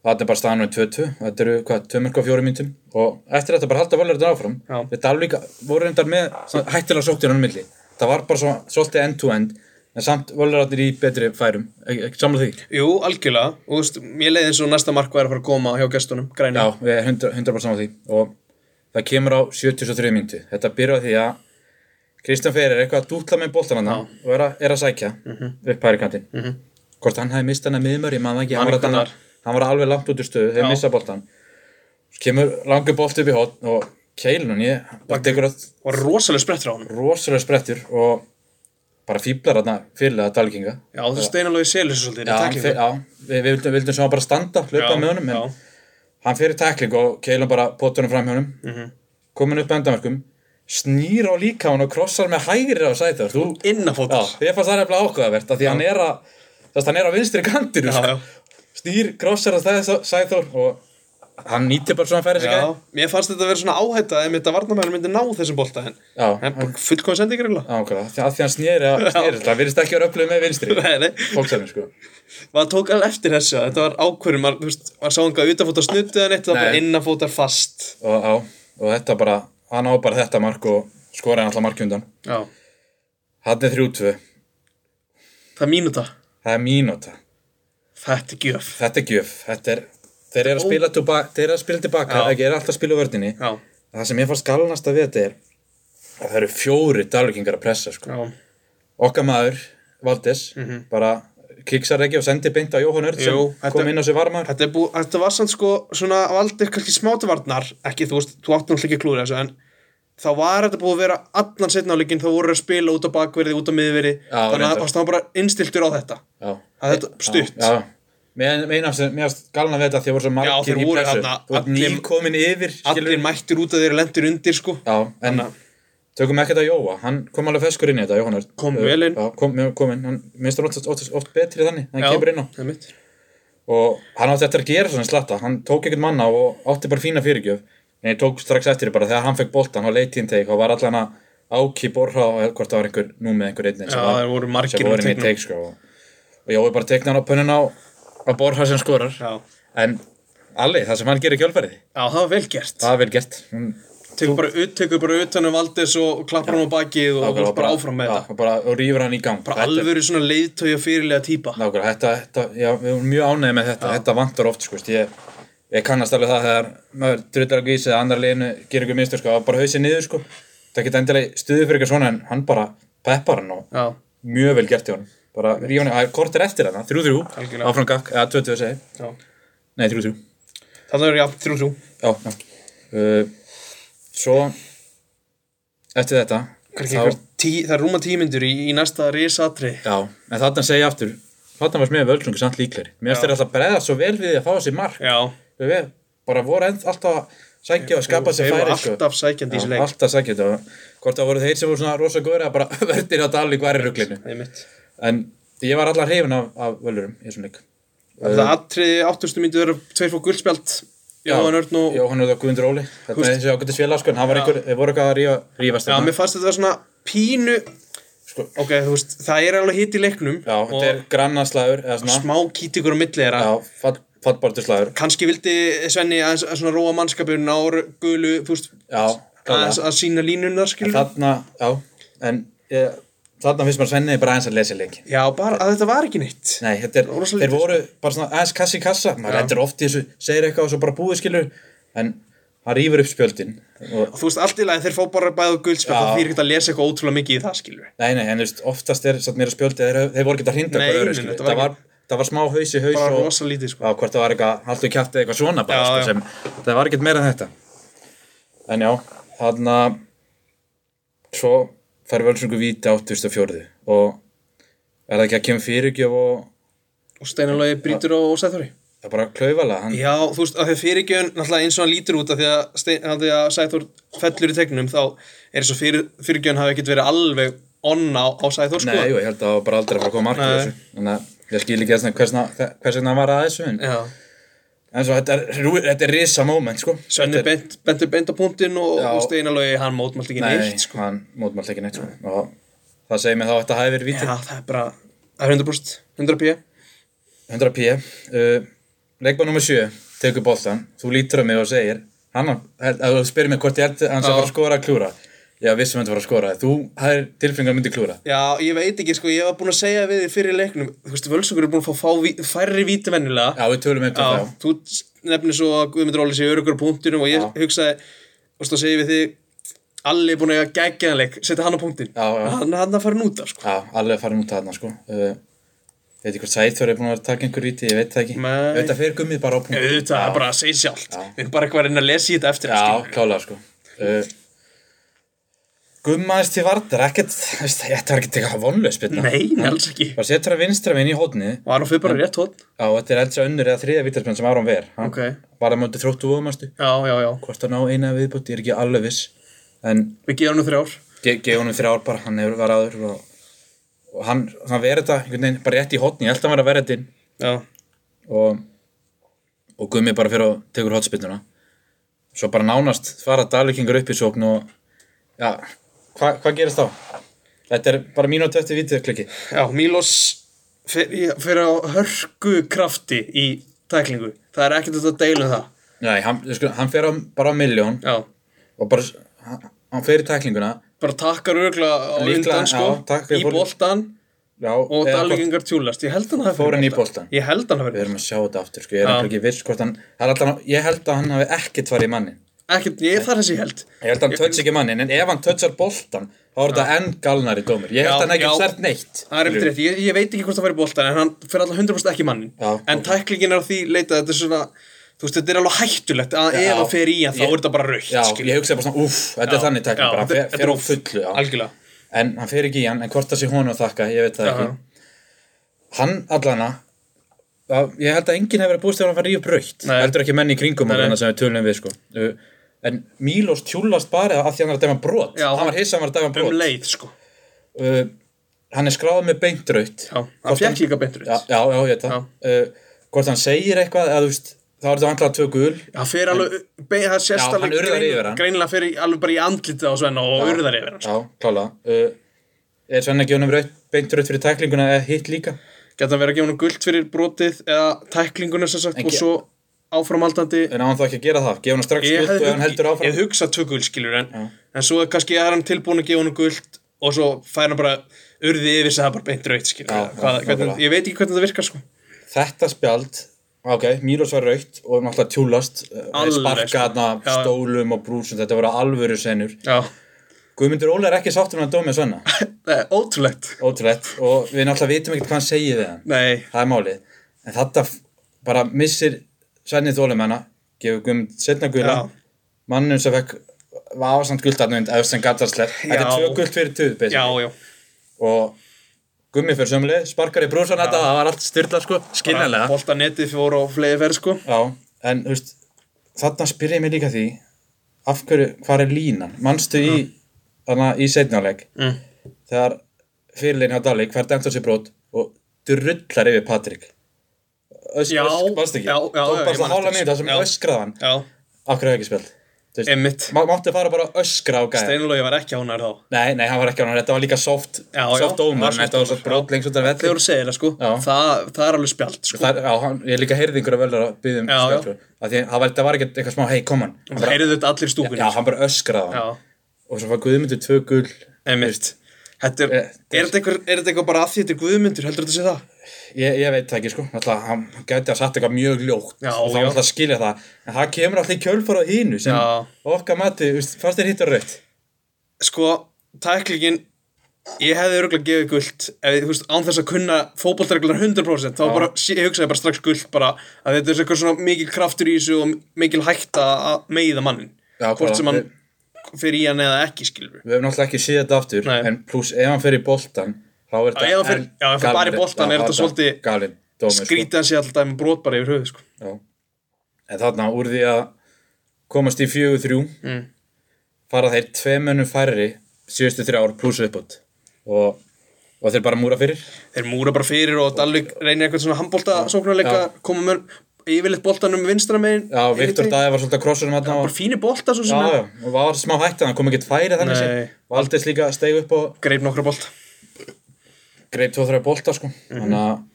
A: það er bara staðan með 2-2 þetta eru hvað, 2 mörg á fjórum myndum og eftir þetta bara halda valur þetta áfram
B: Já.
A: við Dalvik voru reyndar með svona hættilega sóktir hann milli, það var bara svo, svolítið end to end, en samt valur þetta í betri færum, ekki, ekki samla því
B: Jú, algjörlega. Og þú veist, mér leiði eins og næsta markvað er að fara að koma hjá gestunum, græni.
A: Já, við erum 100%, 100 saman því og það kemur á 73 myndu þetta byrjar á því að Kristján Freyr er eitthvað að dútla með boltan hann og er, a, er að sækja
B: Mhm.
A: upp hægri kantinn -hmm. hvort hann hefði mistað hann að miðmörg ég maður ekki, hann
B: Man
A: var,
B: ekki
A: þarna-
B: hvar.
A: hann var alveg langt út úr stöðu þegar
B: Já.
A: mistað boltan kemur langur bolt upp í hot og keilun ég og tekur að
B: Var rosaleg sprett frá honum.
A: rosalega sprettur og bara fýblar hann fyrirlega dalginga
B: Já, þú steinalóði selur svo svolítið.
A: Já, hann
B: taklingu.
A: fer- já við, við vildum, vildum sem bara standa hlaupa
B: Já,
A: með honum en
B: já.
A: hann fyrir tækling og keilum bara potunum fram hjá honum
B: Mhm.
A: komin upp endamarkum snýr á líka hann og krossar með hægri á sætur þú, já,
B: Innafótur.
A: ég fannst það nefnilega ákveðavert af því hann er að þess að hann er á vinstri kantinu sko.
B: Já, já.
A: snýr, krossar á sætur og hann nýtir bara svona færi sig
B: Já, mér fannst þetta að vera svona áhætta ef þetta varnamæður myndi ná þessum bolta en
A: Já.
B: en bara fullkomið sendingur eiginlega.
A: ákveða, því að því hann snýri að snýri það virðist ekki að vera upplöðu með vinstri
B: Nei, nei,
A: fólksefni sko
B: maður tók alveg eftir þessu þetta var ákvörðum, maður, þú veist, maður sá einhvað utanfótar snuttu en eitt, það var bara
A: Nei.
B: innanfótar fast
A: og, á, og þetta bara, hann á bara þetta mark og skoraði hann alltaf markjundan
B: Já,
A: hann er 3-2,
B: það er mínúta
A: það er mínúta
B: Þetta er gjöf
A: þetta er gjöf, þetta er þeir eru að spila, tuba, þeir eru að spila tilbaka
B: Já.
A: ekki er alltaf að spila úr vördinni
B: Já,
A: það sem ég fannst galnast að við þetta er að það eru fjóri dalvíkingar að pressa sko.
B: já,
A: okkar maður, Valdis bara kiksar ekki og sendir beint á Jóhann Örn sem
B: Mhm. Jú, þetta-
A: kom inn á sér varmar
B: þetta, er bú, þetta var samt sko svona valdir kannski smátavarnar ekki, þú veist, þú átt náttúrulega ekki að klúra þessu en þá var þetta búið að vera allan setna á leikinn, þá voru að spila út á bakverði út á miðverði,
A: Já,
B: þannig að
A: reyndar.
B: það var bara innstiltur á þetta,
A: já.
B: að þetta stutt
A: já, já. Mér finnst galna við þetta því að voru svo margir
B: þeir
A: í
B: voru
A: pressu
B: þarna,
A: þú ert
B: allir-
A: nýkomin yfir skilurðu.
B: allir mættur út að þeir lendir undir sko
A: Já, en
B: Þannig að-
A: tökum ekki þetta Jóa, hann kom alveg feskur inn í þetta Jóhann Örn.
B: Kom
A: Uh,
B: vel inn.
A: Já, kom, já, kom inn, hann minnst hann oft, oft, oft betri þannig, hann
B: Já,
A: kemur inn á
B: einmitt.
A: og hann átti eftir að gera svona slatta, hann tók ekkert manna og átti bara fína fyrirgjöf en ég tók strax eftir því bara þegar hann fekk boltan á leitíðin teik og var allan að áki borra og hvort það var einhver nú með einhver einnig
B: Já, þeir voru margir
A: sem voru inn í
B: teiknum.
A: teik sko og, og Jói bara tekna hann á pönnun á, á borra sem skorar
B: Já.
A: en Alli, það sem hann gerir kjálfærið
B: Já, það var vel gert
A: það er vel gert Hún-
B: tekur bara, ut, tekur bara utan um Valdis og klappar hann á bakið og heldur bara áfram með
A: já,
B: þetta
A: og bara, og rýfur hann í gang
B: bara
A: Þetta er-
B: alvöru svona leiðtögja fyrirlega típa
A: Nákvæmlega, þetta, þetta, já, við erum mjög ánægði með þetta, þetta vantar oft, sko, veist, ég, ég kannast alveg það þegar maður drullar að gísa eða annar leginu gerir ykkur mistur, sko, að bara hausið niður, sko, það geta endilega stuðið fyrir eitthvað svona en hann bara peppar hann og
B: já,
A: mjög vel gert í honum, bara rífa hann, það er kortir eftir hann, 3-3,
B: Algjörlega.
A: áfram gakk, eða 2-2 segi,
B: já.
A: nei 3-3,
B: það er já, þrjú þrjú
A: já, já, uh, svo, eftir þetta,
B: Kannski einhver tí, það er rúma tímyndur í, í næsta risatri
A: já, en þarna segi ég aftur, þarna var smið völsungu samt líkleri, mér finnst
B: Já.
A: þér alltaf bregða svo vel við því að fá þessi mark,
B: já,
A: við við bara voru enn alltaf að sækja og skapa sér
B: þeir
A: færi
B: eru
A: sko.
B: alltaf sækjandi í
A: Já,
B: þessu leik
A: alltaf sækja þetta og hvort það voru þeir sem voru svona rosa góður að bara verðir að dali hverju ruglinu
B: einmitt
A: en ég var allar hrifin af, af völurum í þessum leik Eh.
B: það atriði áttustu myndu eru tveir fór guldspjald Jóhann Örn og
A: Jóhann og Guðmundur Óli þetta er þessi ágættis félag sko en hann var
B: Já.
A: einhver þeir voru eitthvað að rífa, rífast
B: já,
A: þarna.
B: mér fannst þetta vera svona pínu
A: Sko.
B: ok, þú veist, það er alveg hitt í leiknum
A: já
B: og
A: þetta er grannaslæður eða svona
B: smá kýtingur á milli þeirra
A: já fall, fallbortislæður
B: kannski vildi Svenni aðeins að svona róa mannskapin á gulu, þú veist
A: já
B: aðeins
A: klálega.
B: að sína línunar skilur
A: þarna já en ég þarna finnst maður svenniði bara aðeins að lesa leikin
B: Já, bara að þetta var ekki neitt.
A: Nei, þetta er,
B: Rosa lítið, sko.
A: þeir voru bara svona aðeins kassa í kassa, maður
B: Já.
A: lendir oft í þessu, segir eitthvað og svo bara búið skilur, en hann rýfur upp spjöldin og,
B: Og þú veist, allt í lagi þeir fá bara bæðu guldspjöld
A: Já.
B: þá því er ekki að lesa eitthvað ótrúlega mikið í það, skilur.
A: nei, nei, en þú veist, oftast er satt mér að spjöldi, þeir, þeir voru ekki að hrinda
B: Nei,
A: okkur
B: nei,
A: öðru, skilur,
B: þetta var
A: það var, það var smá haus í haus
B: Bara
A: og,
B: rosa
A: á
B: lítið, sko.
A: hvort það var eitthvað, haldu kjáttið eitthvað svona bara,
B: Já,
A: sko,
B: já.
A: sem, það var ekkert meira en þetta en já, þarna svo fær völsungu víti á 2004 og er það ekki að kemur fyrirgjöf og
B: Og steinalagi brýtur á Sæþóri.
A: það er bara klaufalega, hann,
B: Já, þú veist, að þau fyrirgjöfun, náttúrulega eins og hann lítur út af því að, Stein- af því að Sæþór fellur í tegnum, þá er þess að fyrir, fyrirgjöfun hafi ekkert verið alveg onna á, á Sæþór, sko.
A: nei, jú, ég held að það var bara aldrei að fara að koma markið
B: Nei.
A: þessu, þannig að ég skil ekki þess að hvers, hvers vegna hann var að þessu en,
B: Já.
A: en svo þetta er, rú- þetta er risa moment, sko
B: Svenni
A: Þetta er-
B: bent, bentur beint á punktinn og,
A: Já.
B: og steinalagi, hann mótmælt ekki
A: nei,
B: neitt, sko.
A: hann mótmált ekki neitt, sko og það segir mig þá að þetta hafi verið víti
B: Já, það er bara, það er 100%, 100 pí.
A: 100 p uh, leikmann nummer 7 tekur boltan, þú lítur á mig og segir hann, held- að þú spyrir mig hvort ég held að hann sé
B: Já.
A: að fara að skora að klúra já, vissum hann að fara að skora, þú hafðir tilfengar myndi klúra
B: Já, ég veit ekki, sko, ég var búin að segja við þið fyrir leiknum, þú veist, Völsungur er búin að fá, fá ví- færri víti venjulega.
A: já, við tölum um þetta þá
B: þú nefnir svo að Guðmundur Óli sé örugur á punktinum og ég
A: Já.
B: hugsaði, þú veist, þá segi við þið, allir er búin að gegja hann leik, setja hann á punktin.
A: Já, já.
B: Hann, hann að fara nút af, sko.
A: já, alveg farin út að þarna sko uh, veit ekki hvort Sæþór er búin að taka einhver víti, ég veit það ekki
B: Nei. Eh.
A: ég veit að fyrir gummið bara á punkt
B: Auðvitað, það er bara að segja sjálft. Við erum bara eitthvað að reyna að lesa í þetta eftir,
A: Já,
B: skilurðu.
A: klálega sko uh, Gummaðist til vartar, ekkert þú veist, Þetta var ekkert eitthvað vonlaus spilna
B: Nei, nei, alls ekki.
A: Bara setur hann vinstra vinn í hodni
B: Og hann fyrir bara rétt hótt.
A: Já, þetta er eldsa önnur eða þriða vítarspinn sem Aron ver hann
B: Ok.
A: Var það mjöndi þróttu voðumastu
B: Já, já, já.
A: Hvort hann á eina viðbútt, ég er ekki alveg viss En
B: Við gerum nú þrjár.
A: ge gefa honum þrjár bara, hann hefur var aður og, og hann, hann verið þetta einhvern veginn bara rétt í hotni, ég held að hann var að verið þetta inn
B: Já.
A: og, og gummi bara fyrir og tekur hotspinnuna Svo bara nánast fara dalekingur upp í sókn og Já, hva, hvað gerist þá? Þetta er bara mínúti eftir vítið klikki
B: Já, Mílos fyrir á hörku krafti í tæklingu. Það er ekkert hægt að deila um það.
A: Nei, hann, ég skulum- hann fer á, bara á miljón
B: Já.
A: og bara, hann, hann fer í tæklinguna
B: Bara takkar örgulega á
A: Líklega,
B: undan, sko,
A: já, takk fyrir
B: í
A: fólk.
B: boltan
A: Já,
B: og
A: eða hvort-
B: dalgingar tjúlast. Ég held hann að það
A: Fór hann í boltann?
B: Ég held hann að
A: við
B: fyrir.
A: erum að sjá þetta aftur sko. ég er nefnilega ekki viss hvort hann það er alltaf, ég held að hann hafi ekkert farið í mannin
B: Ekkert, ég er þar þessi ég held.
A: ég held að hann tötts ekki mannin en ef hann töttsar boltan þá er þetta enn galnari dómur ég held
B: Já,
A: að hann ekki
B: já.
A: sert neitt
B: Það er eftir rétt. Ég, ég veit ekki hvort það fyrir boltan en hann fyrir alltaf 100% ekki mannin.
A: Já,
B: en tæklingin er á því leitað, þetta er svona, þú veist, þetta er alveg hættulegt að ef hann fer í hann þá
A: Ég-
B: er þetta bara raukt.
A: já, ég hugsaði bara svona, uff, þetta er þannig tækning bara, fer- fer á fullu já.
B: Algjörlega.
A: en hann fer ekki í hann, en hvort það sé honum að þakka ég veit það
B: Já.
A: ekki hann allana já, ég held að enginn hefur verið búist þegar hann fær í upp raukt
B: Nei.
A: heldur ekki menn í kringum
B: Nei, nei.
A: hann sem við tölum við sko. Uh, en Mílos tjúlast bara af því hann var að dæma brot
B: Já,
A: hann
B: hann-
A: var hissa að hann var að dæma brot
B: Um leið, sko.
A: uh, hann er skráð með beintraut
B: Já, hann fekk líka beint rautt.
A: já, já, já, ég veit það uh, hvort hann segir eitthvað eða, þú veist, þá er þetta vantilega tvö gul
B: Það fer alveg, bein, það sést
A: Já, hann
B: alveg
A: urðar yfir hann.
B: greinilega fyrir alveg bara í andlitið á Svenna og urðar yfir hann. sko.
A: já, klála uh, er Svenna ekki honum raut, beintraut fyrir tæklinguna eða hitt líka
B: Geta hann verið að gefa hann guld fyrir brotið eða tæklinguna sem sagt
A: En
B: og
A: ge-
B: svo áframhaldandi.
A: en án þá ekki að gera það, gefa hann strax
B: Ég
A: gult og
B: hefði
A: ef hann um heldur
B: hug,
A: áfram
B: ég hugsa tvö guld skilur en, en svo er kannski er hann tilbúin að gefa hann guld og svo fær hann bara urði yfir sem það er bara beint raut skilur.
A: Já,
B: Hvað,
A: já,
B: hvernig,
A: nákvæmlega.
B: ég veit ekki hvernig það virkar sko.
A: þetta spjald Ok, Mílos var raukt og náttúrulega tjúlast eh,
B: Alveg, sko.
A: sparkaðna,
B: Já, já.
A: stólum og brúsum þetta voru alvöru senur
B: Já,
A: Guðmundur Óli er ekki sáttur með að dómið svona
B: það er ótrúlegt.
A: ótrúlegt og við náttúrulega vitum ekkert hvað hann segir við hann
B: Nei,
A: það er málið en þetta f- bara missir Svenni Þólimanna gefur Guðmund setna gula
B: Já.
A: mannum sem fekk var ásamt guldarnönd eða sem gattarslef þetta er
B: Já.
A: tvö guld fyrir tuð
B: já,
A: basically.
B: já.
A: og Gummi fyrir sömuleg, sparkar í brúsan þetta það var allt styrla sko, skiljanlega
B: Bolta netið fór á fleigi ferð sko.
A: já, en þú veist þarna spyr ég mig líka því af hverju, hvað er línan, manstu í þarna í setnáleik
B: Mm.
A: þegar fyrirlegin á Dalík fær dæmt á sér brot og drullar yfir Patrik
B: Já,
A: varst ekki
B: já, já, já,
A: tók
B: ég
A: bara
B: man
A: að hála
B: eftir
A: niður
B: þessu.
A: það sem
B: Já.
A: öskraði hann
B: Já,
A: af hverju er ekki spjöld Þú veist,
B: emmitt.
A: má- mátti fara bara að öskra á gæja
B: Steinulegi var ekki ánæður þá.
A: nei, nei, hann var ekki á hann, þetta var líka soft
B: Já, já,
A: soft
B: var
A: dómar,
B: soft
A: en þetta var svo
B: dómur,
A: brot lengst út af
B: Þegar
A: velli
B: þú segir það sko,
A: Já.
B: það, það er alveg spjald sko.
A: Þar, já, hann, ég líka heyrði einhverja völdur að byggja um
B: Já, já.
A: spjöld af því að það var- þetta var ekki eitthvað smá, hei, kom hann Hann
B: Það
A: bara-
B: heyrðu þetta allir í stúkunni
A: já, hann bara öskraði á
B: Já,
A: hann og svo fann Guðmundur tvö gull
B: einmitt Þetta er,
A: Eh,
B: er þetta eitthvað, er þetta eitthvað bara að því þetta er guðmyndur, heldur þetta sé það?
A: Ég, ég veit það ekki sko, alltaf hann gæti að satt eitthvað mjög ljótt
B: Já,
A: og þá
B: já.
A: alltaf að skilja það en það kemur alltaf í kjölfara á hínu sem
B: Já.
A: okkar mati, veist, fannst þér hitt og rautt
B: Sko, tæklingin, ég hefði örgulega gefið guld, ef, þú veist, án þess að kunna fótboltreglunar 100%, þá bara, ég hugsaði bara strax guld bara að þetta er eitthvað svona mikil kraftur í þessu og mikil hætta að meiða mannin.
A: Já, klálega.
B: Hvort sem hann fyrir í hann eða ekki, skilur
A: Við hefum náttúrulega ekki séð þetta aftur
B: Nei.
A: en pluss ef hann fer í boltan þá er
B: ef hann fer-
A: enn
B: já, ef hann fer bara í
A: galinn-
B: boltann
A: já,
B: er þetta svolítið
A: galinn dómur, sko.
B: Skrítið hans ég alltaf með brot bara yfir höfuð, sko.
A: Já. En þarna úr því að komast í 4-3
B: Mm.
A: fara þeir tveimennum færri síðustu þrjá ár pluss uppbót og, og þeir bara múra fyrir
B: þeir múra bara fyrir og Dalvik reynir eitthvað svona handbólta sóknarleika koma með yfirleitt boltanum vinstra megin
A: Já, Viktor Dæði var svolítið að krossurum hann
B: bara fínir bolta svo sem
A: Já,
B: já,
A: já, og var smá hægt að hann kom ekkert færi þannig
B: Nei.
A: sem Valdis líka steig upp og
B: greip nokkra bolta
A: greip 2-3 bolta sko þannig að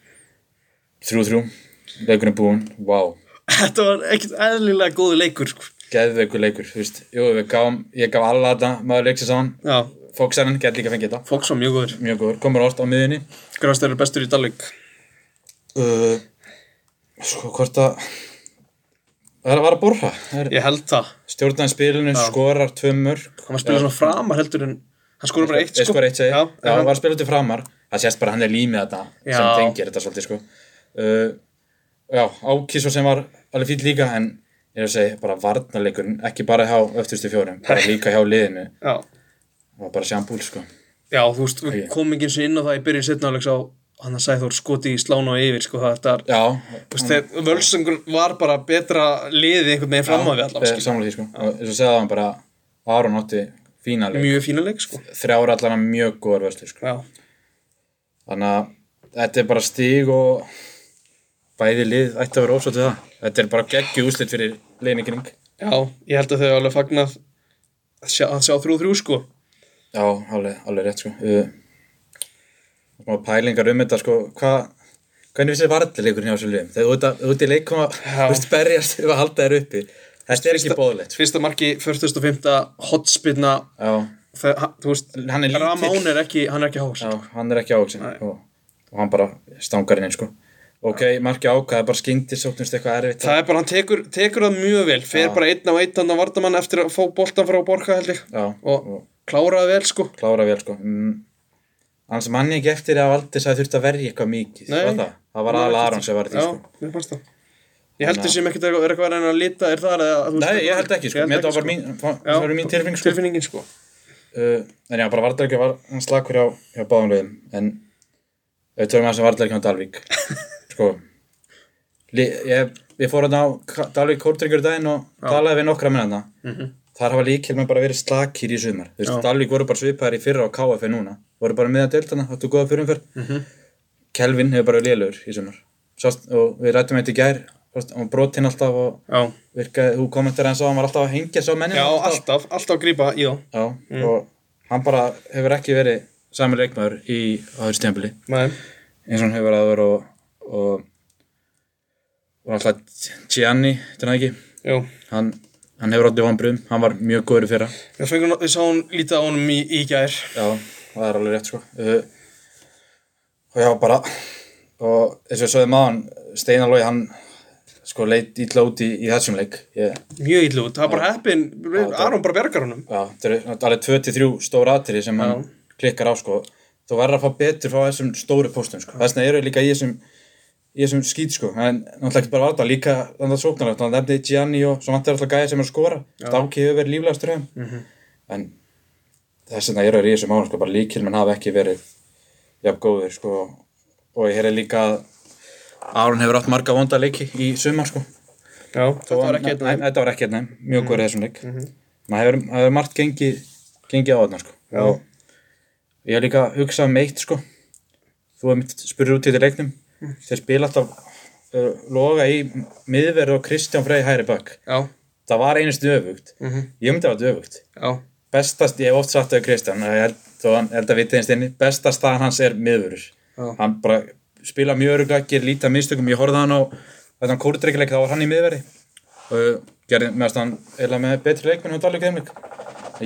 A: 3-3, leikurinn búinn, wow
B: þetta var ekkert eðlilega góðu leikur sko.
A: geðveikur leikur, þú veist, jú, við gáum ég gaf alla þetta, maður leiksins á hann
B: já,
A: Fóksaninn gæti líka fengið þetta,
B: fólks var mjög góður
A: mjög góður, komur ást á miðinni
B: grást eru bestur í Dalvik
A: uh, sko, hvort að það er að vara að borra yeah.
B: ég held það,
A: stjórnaði spilinu, skorar tvö mörg
B: hann var að spila svona framar heldur en hann skora bara eitt
A: eitt
B: sko
A: skor eitt segi,
B: já,
A: já,
B: en
A: var
B: hann,
A: að spila til framar það sést bara að hann er límið þetta
B: Já.
A: sem tengir þetta svolítið sko uh, já, ákísu sem var alveg fýll líka en ég er að segja, bara varnarleikurinn ekki bara hjá öftustu fjórum, bara líka hjá liðinu
B: já,
A: það var bara sjambúl sko
B: já, þú veist, við komum ekki eins og inn á það í byrjun setna alveg sá hann að Sæþór skoti í slána og yfir sko, það, þetta,
A: já,
B: þú veist, þegar völsungur var bara betra liðið einhvern veginn fram á við allan
A: Eh,
B: skilur.
A: sammála því sko og eins og segja hann bara Aron átti fína leik
B: mjög fína leik sko
A: þrjára allan að mjög góðar vörslu sko.
B: Já,
A: þannig að þetta er bara stíg og bæði lið ætti að vera ósátt við það þetta er bara geggju úslit fyrir leiningring
B: já, ég held að þau hafi alveg fagnað að sjá, að sjá þrjú þrjú sko
A: já, alveg, alveg rétt sko uh, smá pælingar um þetta sko hvað hvernig vissi varðleikurinn hjá þessu liðum þegar þú ert að- þú ert í leikum að
B: Já.
A: þú veist berjast ef að halda þér uppi þetta er ekki bóðlegt sko.
B: Fyrsta marki, 45. hotspinna
A: já,
B: þau- ha- Þú veist,
A: Hann er lítill.
B: Ramón er ekki, hann er ekki sko. hás
A: já, hann er ekki áhugsin og, og hann bara stangar inn sko ok, marki ákvæða bara skyndi sóknumst eitthvað erfitt
B: Það er bara, hann tekur, tekur það mjög vel fer bara einn á einn hann að vardamann eftir að fá boltan frá borga held ég
A: já,
B: og kláraði vel sko
A: klára vel sko mm. annars mann ég ekki eftir að Valdis hafi þurft að verja eitthvað mikið
B: Nei.
A: var það? það var aðal Aron sem var í því
B: Já,
A: sko.
B: mér fannst það Ég held þessum ekkert að er eitthvað að reyna að lita er það eða þú veist,
A: nei, ég
B: eitthvað-
A: held ekki sko, mér það var mín, fá-
B: Já,
A: það var mín tilfinning sko.
B: tilfinningin sko
A: uh, en já, bara Vardalíkja var hann slakur hjá, hjá báðum lögum en við tökum að sem Vardalíkja á Dalvík sko Li, ég, ég fór hann á Ka- Dalvík Kórtryggur daginn og talaði við nokkra menna -hmm. þar hafa líkil með bara verið slakir í sumar Þú veist, Dalvík voru bara svipaðir í fyrra og KF núna voru bara með að deildana, áttu góða fyrirumferð mm -hmm. Kelvin hefur bara lélugur í sumar Sást, og við rættum eitt í gær og brotinn alltaf og
B: Já,
A: virkaði, þú kommentar eins og hann var alltaf að hengja svo mennina
B: já alltaf, alltaf að grípa í þá
A: Já, og hann bara hefur ekki verið sami leikmaður í aður stjæmbili
B: Nei.
A: eins og hann hefur verið að vera og, og, og alltaf Gianni, þetta er það ekki
B: Jú,
A: hann, hann hefur átti vanbröðum, hann var mjög góður í fyrra
B: við fengum, við sáum lítið á honum í, í gær.
A: Já, það er alveg rétt sko uh, og já, bara og eins og ég sögði maður Steinar Lói, hann sko leit ítla út í, í þessum leik ég,
B: Mjög illu út, það var bara heppin, Aron bara bergar honum.
A: Já, þetta eru þetta eru alveg 23 stóra atriði sem hann klikkar á sko. Þú verður að fá betur frá þessum stóru póstum sko. Þess vegna eru þeir líka í þessum í þessum skýt sko. En náttúrulega ekki bara varða líka þannig að sóknarlegt. Þannig að nefni Gianni og svo vantar alltaf gæði sem er að skora. Stáki hefur verið líflega ströðum. En þess vegna eru þeir í þessum málum sko. Bara líkil menn hafa ekki verið jafn góðir sko. Og ég heyrði líka að Aron hefur átt marga vonda leiki í sumar sko.
B: Já, þetta var ekki hérna. Mhm.
A: Nei,
B: eitthvað.
A: Þetta var ekki einn af þeim, mjög góður í þessum leik. Maður hefur, maður hefur margt gengið, gengið á þarna, sko. Já. Og ég hef líka hugsað um eitt, sko. Þú hefur mitt spurður út í þetta leiknum.
B: Mhm.
A: Þeir spila alltaf uh, loga í miðverð og Kristján Frey hæri bakk.
B: Já,
A: Það var einustu öfugt.
B: Mhm.
A: Ég myndi að það var öfugt.
B: já,
A: Bestast, ég hef oft sagt þau Kristján, að ég held, þó hann held að vitið einst inni, besta staðan hans er miðverður.
B: Já.
A: Hann bara spila mjög öruglega, gerir lítið af mistökum. Ég horfði á hann á, þetta hann kórdreikileik, þá var hann í miðverði og gerði meðast hann eða með betri leikmenn hjá Dalík þeimleik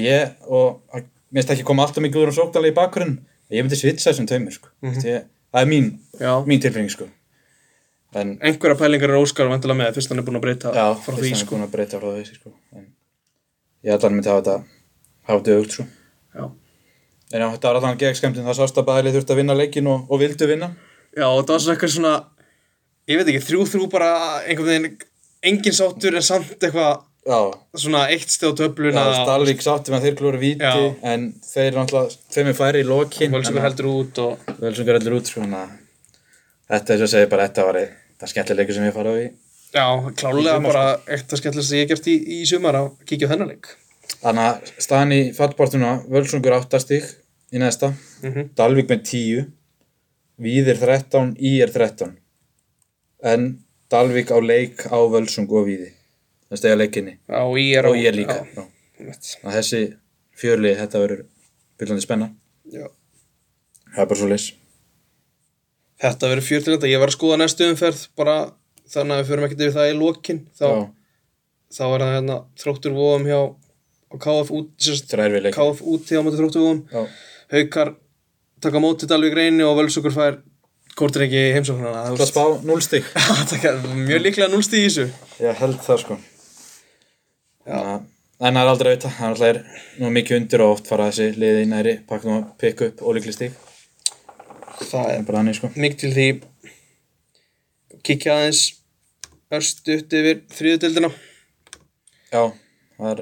A: ég og að mér finnst ekki koma alltaf mikið úr um sóknarlega í bakgrunn ég myndi svitsa þessum taumur sko. mm -hmm. það er mín,
B: Mhm. Já.
A: mín tilfinning sko. en
B: einhverja pælingar er Óskar vantilega með fyrst hann er búin að breyta
A: já,
B: frá því sko.
A: búin að breyta frá því sko. en ég ætla hann myndi hafa þetta hafa þetta aukt sko.
B: já.
A: en já, þetta var allan gegskæmtinn það sást að bæli þurft að vinna leikin og, og vildu vinna
B: já, og það var svona eitthvað svona ég veit ekki, þrjú þrjú bara einhvern veginn, engin sáttur en samt eitthvað
A: já,
B: svona eitt stið á töfluna
A: já Stalvík sátti með að þeir klúru víti
B: Já.
A: en þeir náttúrulega, þeim er færi í lokin
B: Völsungur heldur út og
A: Völsungur heldur út sko, þannig að þetta er svo að segja bara þetta var það skemmtilegur sem ég fara á í
B: já, klálega
A: Í sumar, sko.
B: bara eitt að skemmtilegast sem ég hef gert í, í sumar að kíkja á þennan leik
A: Þannig að staðan í fallbortuna Völsungur áttastík í næsta
B: Mhm.
A: Dalvík með 10 Víðir 13, Ír 13 en Dalvík á leik á Völsung og Víði það stegja leikinni
B: Já, og ég er
A: og Ír líka
B: já,
A: já.
B: einmitt.
A: Þannig að þessi fjörli, þetta verður byllandi spenna
B: Já.
A: það er bara svo leys
B: Þetta verður fjör til þetta, ég var að skoða næstu umferð bara þannig að við förum ekkert yfir það í lokin þá,
A: Já,
B: þá er það hérna þróttur vóðum hjá og KF út, sérst,
A: þrjár við leikin
B: KF úti á móti þróttur vóðum
A: Já,
B: Haukar taka á móti Dalvík reyni og Völsugur fær Kortrengi í heimsóknarna
A: Það spá 0 stík
B: Það er mjög líklega núlst í þessu
A: Ég held það sko Já. En það er aldrei að vita, það er alltaf er nú mikið undir og oft fara þessi liði í næri pakkum og pikk upp ólíkli stík
B: Það
A: Það er bara þannig sko
B: mikið til því kíkja aðeins örst upp yfir þriðudeldina
A: Já, það er,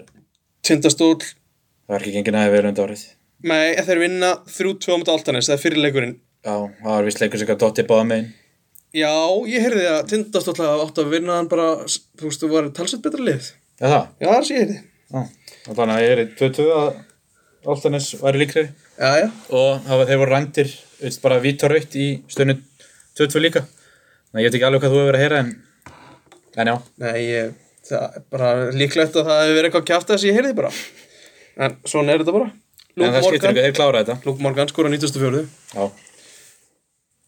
B: tindastól
A: það er ekki gengið næði vel undir árið.
B: með þeir vinna 3-2 mútið Altanes það er fyrirleikurinn
A: Já, það var vist leikur sem gaf dotti báða megin.
B: já, ég heyrði að tindastól hafa átt að vinna hann bara, þú veist, þú var talsett betra lið já,
A: Já, það.
B: það sé ég heyrði
A: Já. Og Þannig að ég er í 22 að Altanes væri líkri.
B: já, já,
A: Og það var, þeir voru rændir, veist, bara vítaraukt í stundu 22 líka. Þannig að ég veit ekki alveg hvað þú hefur verið að heyra en, en já.
B: nei, ég, það er bara líklegt að það hefur verið eitthvað kjáft að þessi ég heyrði bara en svona er þetta bara
A: en
B: Luke
A: það skiptir
B: Morgan,
A: ekki, þeir klára þetta.
B: Luke Morgan skora 94
A: Já.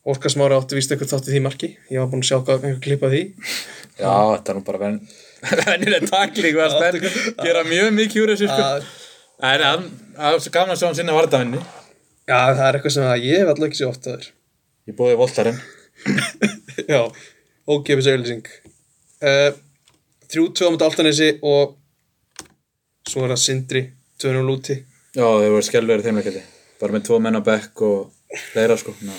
B: Óskar Smári átti víst eitthvað þátt í því marki ég var búin að sjá hvað einhver klippa því
A: Já, þetta er nú bara ven, venjuleg takling, það er spenn, gera mjög mikið úr þessu sko.
B: að
A: En hann- það er svo gaman að sjá um hann sinna varðavenni.
B: Já, það er eitthvað sem að ég hef alltaf ekki sér oft aður.
A: Ég búið í voltarinn.
B: Já, ógefis auðlýsing. Uh, þrjú, tvö á mæta Altanesi og svo er það Sindri, tvönu lúti.
A: Já, þeir voru skelverið þeim leikandi. Bara með tvo menn á bekk og leira sko. Ná.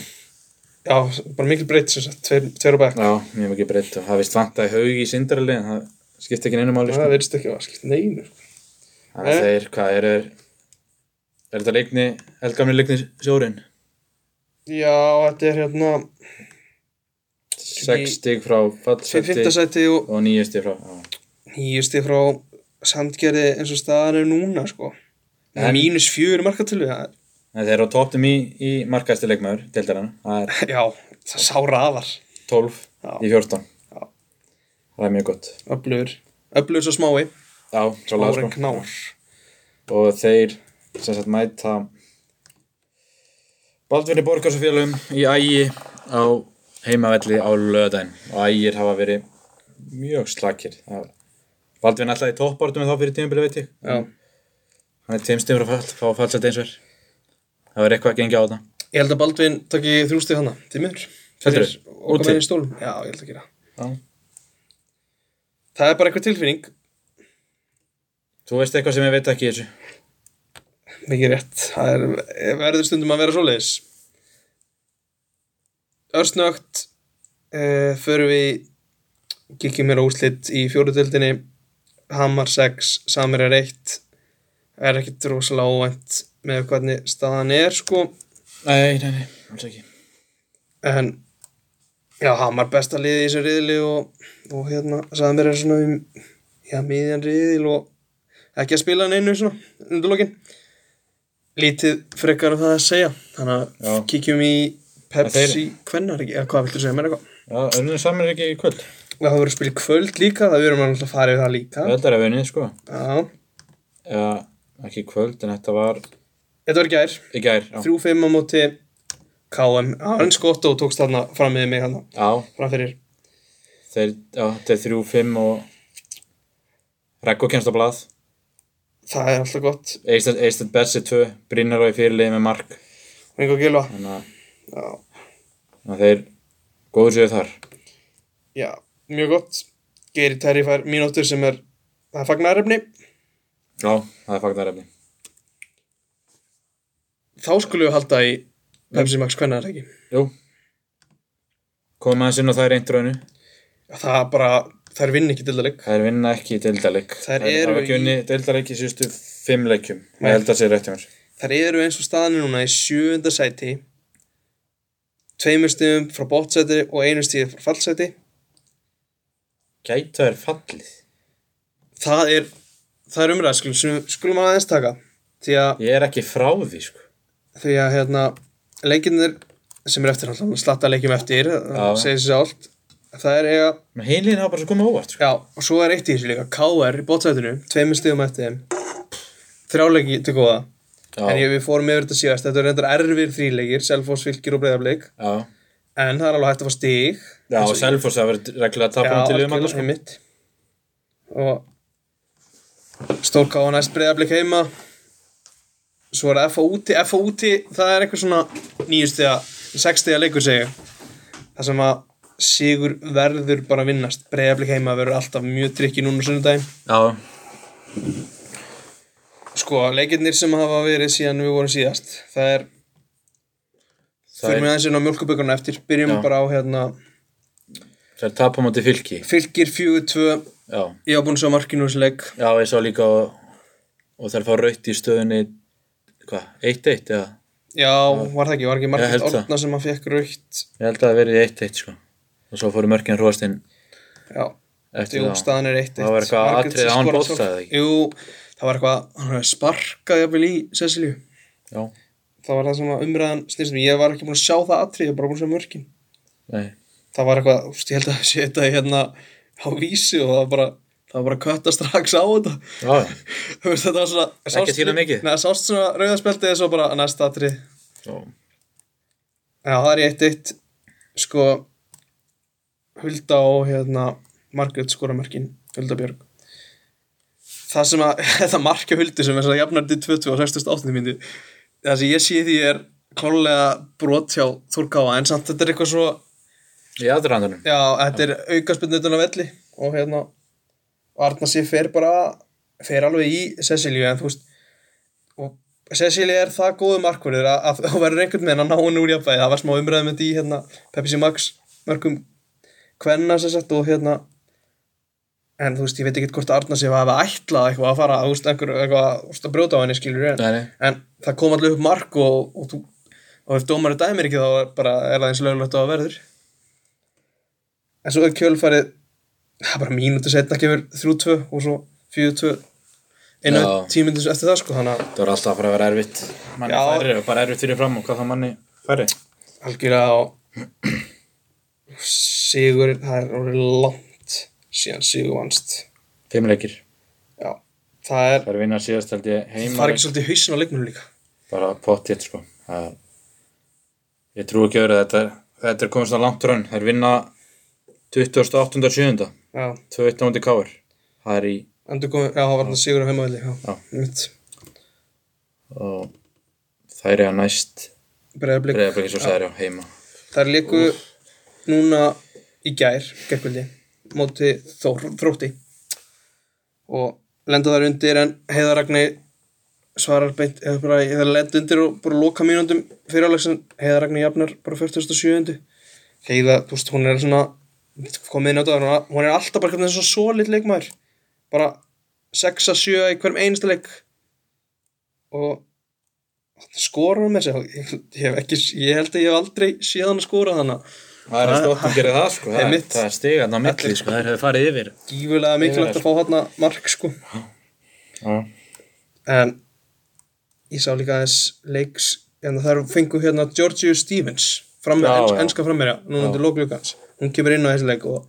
B: Já, bara mikil breytt sem sagt, tveir, tveir á bekk.
A: Já, mjög mikið breytt og það vist vantaði haug í sindarali en það skipti ekki neina máli sko.
B: Það verðist ekki að skilt neinu.
A: Þannig
B: Eh?
A: að þeir, hvað er, er, er þetta leikni, eldgamli leikni sjórin?
B: Já, þetta er hérna Í-
A: Sex stig frá
B: fyrta
A: fallseti
B: sæti og
A: og níu stig frá. Já.
B: nýjusti frá sandgerði eins og staðan er núna, sko. En...
A: En-
B: Mínus fjögur marka til við það.
A: En þeir eru á tóptum í, í markaðasti leikmaður, deildarana. Það er
B: Já, það sá raðar.
A: 12
B: Já.
A: í 14.
B: Já.
A: Það er mjög gott.
B: Öflugur. Öflugur svo smái.
A: Já, svo
B: Ára
A: laga sko.
B: knár.
A: Og þeir sem sagt mæta Baldvinni Borgarsfélum í ægi á heimavelli á löðan og ægir hafa verið mjög slakir Það- Baldvin alltaf í toppartum þá fyrir tímabili veit ég
B: Já.
A: hann er tímstum frá fall, fá fallset eins verð það verður eitthvað að gengja á það
B: Ég held að Baldvin takki þrjústi hana, til mér.
A: Heldurðu?
B: Og
A: Úti?
B: komið í stólum. Já, ég held að gera.
A: Já.
B: Það er bara eitthvað tilfinning,
A: Þú veist eitthvað sem ég veit ekki í þessu
B: mikið rétt. Það er, verður stundum að vera svoleiðis. Örsnögt, uh, förum við, kíkjum mér á úslit í fjóruðöldinni, Hamar 6, Samir er 1, er ekkit rosalega óvænt með hvernig staðan er, sko.
A: Nei, nei, nei, alls ekki
B: En, já, Hamar besta liði í þessu riðli og, og hérna, Samir er svona um, já, miðjan riðil og ekki að spila hann einu svona undurlokin lítið frekar um það að segja þannig að
A: Já.
B: kíkjum í
A: En
B: Pepsi
A: þeir-
B: kvennar ekki, eða hvað viltu segja mér eitthvað
A: Já, önnum saman er ekki í kvöld
B: og það verður að spila í kvöld líka, það verður maður alltaf að fara yfir það líka
A: Það er að vinni, sko
B: já,
A: Já, ekki í kvöld, en þetta var
B: þetta var í gær,
A: í gær Já,
B: 3-5 á móti KM, Arns Gotto tókst þarna fram með mig hérna. hann
A: já
B: fram fyrir
A: Þeir, já, þetta er þrjú, fimm og Rekko kemst á blað
B: það er alltaf gott
A: Eistad, Eistad Bessi 2, Brynjar og í fyrirliði með mark
B: Ringo Gilva
A: þannig að-
B: já,
A: þannig að þeir góður séu þar
B: já, mjög gott Geiri Terri fær mínútur sem er það er fagnarefni
A: já, það er fagtarefni
B: þá skulum við halda í Pepsi Max kvennarleiki
A: jú komum aðeins inn og það er einn drónu
B: það er bara, þær vinn ekki dildaleg
A: það er vinna ekki í deildaleg
B: Þær eru
A: hafa ekki
B: í-
A: unni deildaleg í síðustu fimm leikjum
B: Nei.
A: ég held að sé rétt hjá mér
B: þær eru eins og staðan er núna í sjöunda sæti tveimur stíðum frá bótsæti og einu stíð frá fallsæti
A: gæta er fallið
B: það er, það er umræð skulum, skulum- skulum aðeins taka því að
A: ég er ekki frá því sko
B: því að hérna leikinir sem er eftir náttúrulega slatta leikjum eftir
A: Já.
B: það segir sér allt það er eiga
A: menn heilin hafa bara svo komið óvart sko.
B: já og svo er eitt í þessu líka KR í bótsætinu tveimur stíðum eftir þeim þrjáleiki til góða
A: já,
B: en ég, við fórum yfir þetta síðast þetta er reyndar erfir þríleikir Selfoss, Fylgir og Breiðarbleik
A: já,
B: en það er alveg hægt að fá stíg
A: já og Selfoss hafa verið reglulega að tapa um til um alla sko
B: heimitt og stór KR næst Breiðarbleik heima svo er F.A. úti F.A. úti það er eitthvað svona nýjustega sextega leikur segja það sem að sigur verður bara að vinnast Breiðarbleik heima verður alltaf mjög trikki núna á sunnudaginn
A: já,
B: Sko, leikirnir sem hafa verið síðan við vorum síðast Það er
A: Það
B: Fyrir
A: er-
B: mig aðeins inn á mjölkubökunna eftir Byrjum
A: Já.
B: bara á hérna
A: það er tapa múti fylki
B: Fylgir 4-2
A: já,
B: Ég hafa búin að sjá markinu úr þessu leik
A: já ég sá líka og, og þær fá raut í stöðunni hvað, 1-1 eða
B: Já, var það ekki, var ekki
A: Ég held
B: Margrét
A: það.
B: Orna sem að fekk raukt
A: ég held að það hafi verið 1-1 sko og svo fóru mörkin hróstinn
B: Já,
A: eftir
B: jú,
A: það
B: staðan er 1-1
A: Það var eitthvað
B: Margrét
A: atriði
B: sem
A: án
B: skorar
A: bolta,
B: sjálf.
A: eða ekki?
B: Jú, það var eitthvað, hann hefði sparkað jafnvel í Cecilju
A: já,
B: Það var það sem að umræðan snýstum Ég var ekki búin að sjá það atrið, ég var bara búin að sjá mörkin
A: nei,
B: það var eitthvað, þú veist, ég held að sé þetta hérna á vísi og það var bara það var bara að kötta strax á þetta
A: já, já
B: þú veist, þetta var svona sást-
A: til að mikið.
B: Nei, það sást svona rauðarspeltið og svo bara næsta atri já,
A: Svo,
B: það er í eitt eitt sko Hulda og hérna Margrét skoramörkin, Hulda Björg það sem að þetta markja Huldi sem er svona jafnardi 20 og 68 myndi það sem ég sé í því er klálega brot hjá Þórkáa en samt þetta er eitthvað svo
A: í aðrandunum
B: Já, þetta er aukaspunnutun á velli og hérna og Arna sér fer bara fer alveg í Cecilju en þú veist og Cecilja er það góðu markverður að, að þú verður einhvern veginn að ná henni úr jafnvægi það var smá umræðum þetta í hérna Pepsi Max mörgum kvenna sem sagt og hérna en þú veist, ég veit ekki hvort Arna sér að hafa ætlað eitthvað að fara, þú veist, einhver, eitthvað þú veist, að brjóta á henni skilur en,
A: Nei, nei.
B: en það kom allir upp mark og, og, þú, og ef dómarinn dæmir ekki þá er bara, er það eins löglegt á að verður en svo er kjölfarið það er bara mínútu setna kemur 3-2 og svo 4-2 einu
A: Já.
B: tímyndis eftir það sko þannig að
A: það var alltaf að fara að vera erfitt manni
B: Já.
A: færri og bara erfitt fyrir fram og hvað þá manni færri
B: algjörlega á sigur það er orðið langt síðan sigur vannst
A: fimm leikir,
B: já, það er
A: það er vinna síðast held ég
B: það
A: heima
B: er ekki svolítið hausin á leikmunu líka
A: bara pottið sko það, ég trú ekki öðru að þetta er þetta er komist að langt raun, það er vinna 28.7.
B: já,
A: 2.1. káur það er í
B: endur komið, já, það var þetta sigur á heimavelli já,
A: Já.
B: mitt
A: og það er að næst
B: breyðarblik,
A: Breiðabliki svo sagði já, heima
B: það er líku núna í gær gerkvöldi, móti Þór, þrótti og lenda þar undir en heiðaragni svarar beint eða bara, eða lenda undir og bara loka mínúndum fyrir alveg sem heiðaragni jafnar bara 47. Heiða, þú veist, hún er svona komið inn á það, hún er alltaf bara hvernig svona solid leikmaður bara 6 að 7 í hverjum einasta leik og skora hún með sig ég, ég, hef ekki, ég held að ég hef aldrei séð hann að skora þannig að
A: Það er að stoppa að gera það sko Það er,
B: Einmitt.
A: það er stigan á milli sko, það er hefur farið yfir
B: gífurlega mikilvægt að fá hann að mark sko
A: Já,
B: en ég sá líka aðeins leiks en það fengu hérna Georgiou Stevens frammeð,
A: Já,
B: ens,
A: já.
B: enska frammeðja núna undir lóklugans, hún kemur inn á þessi leik og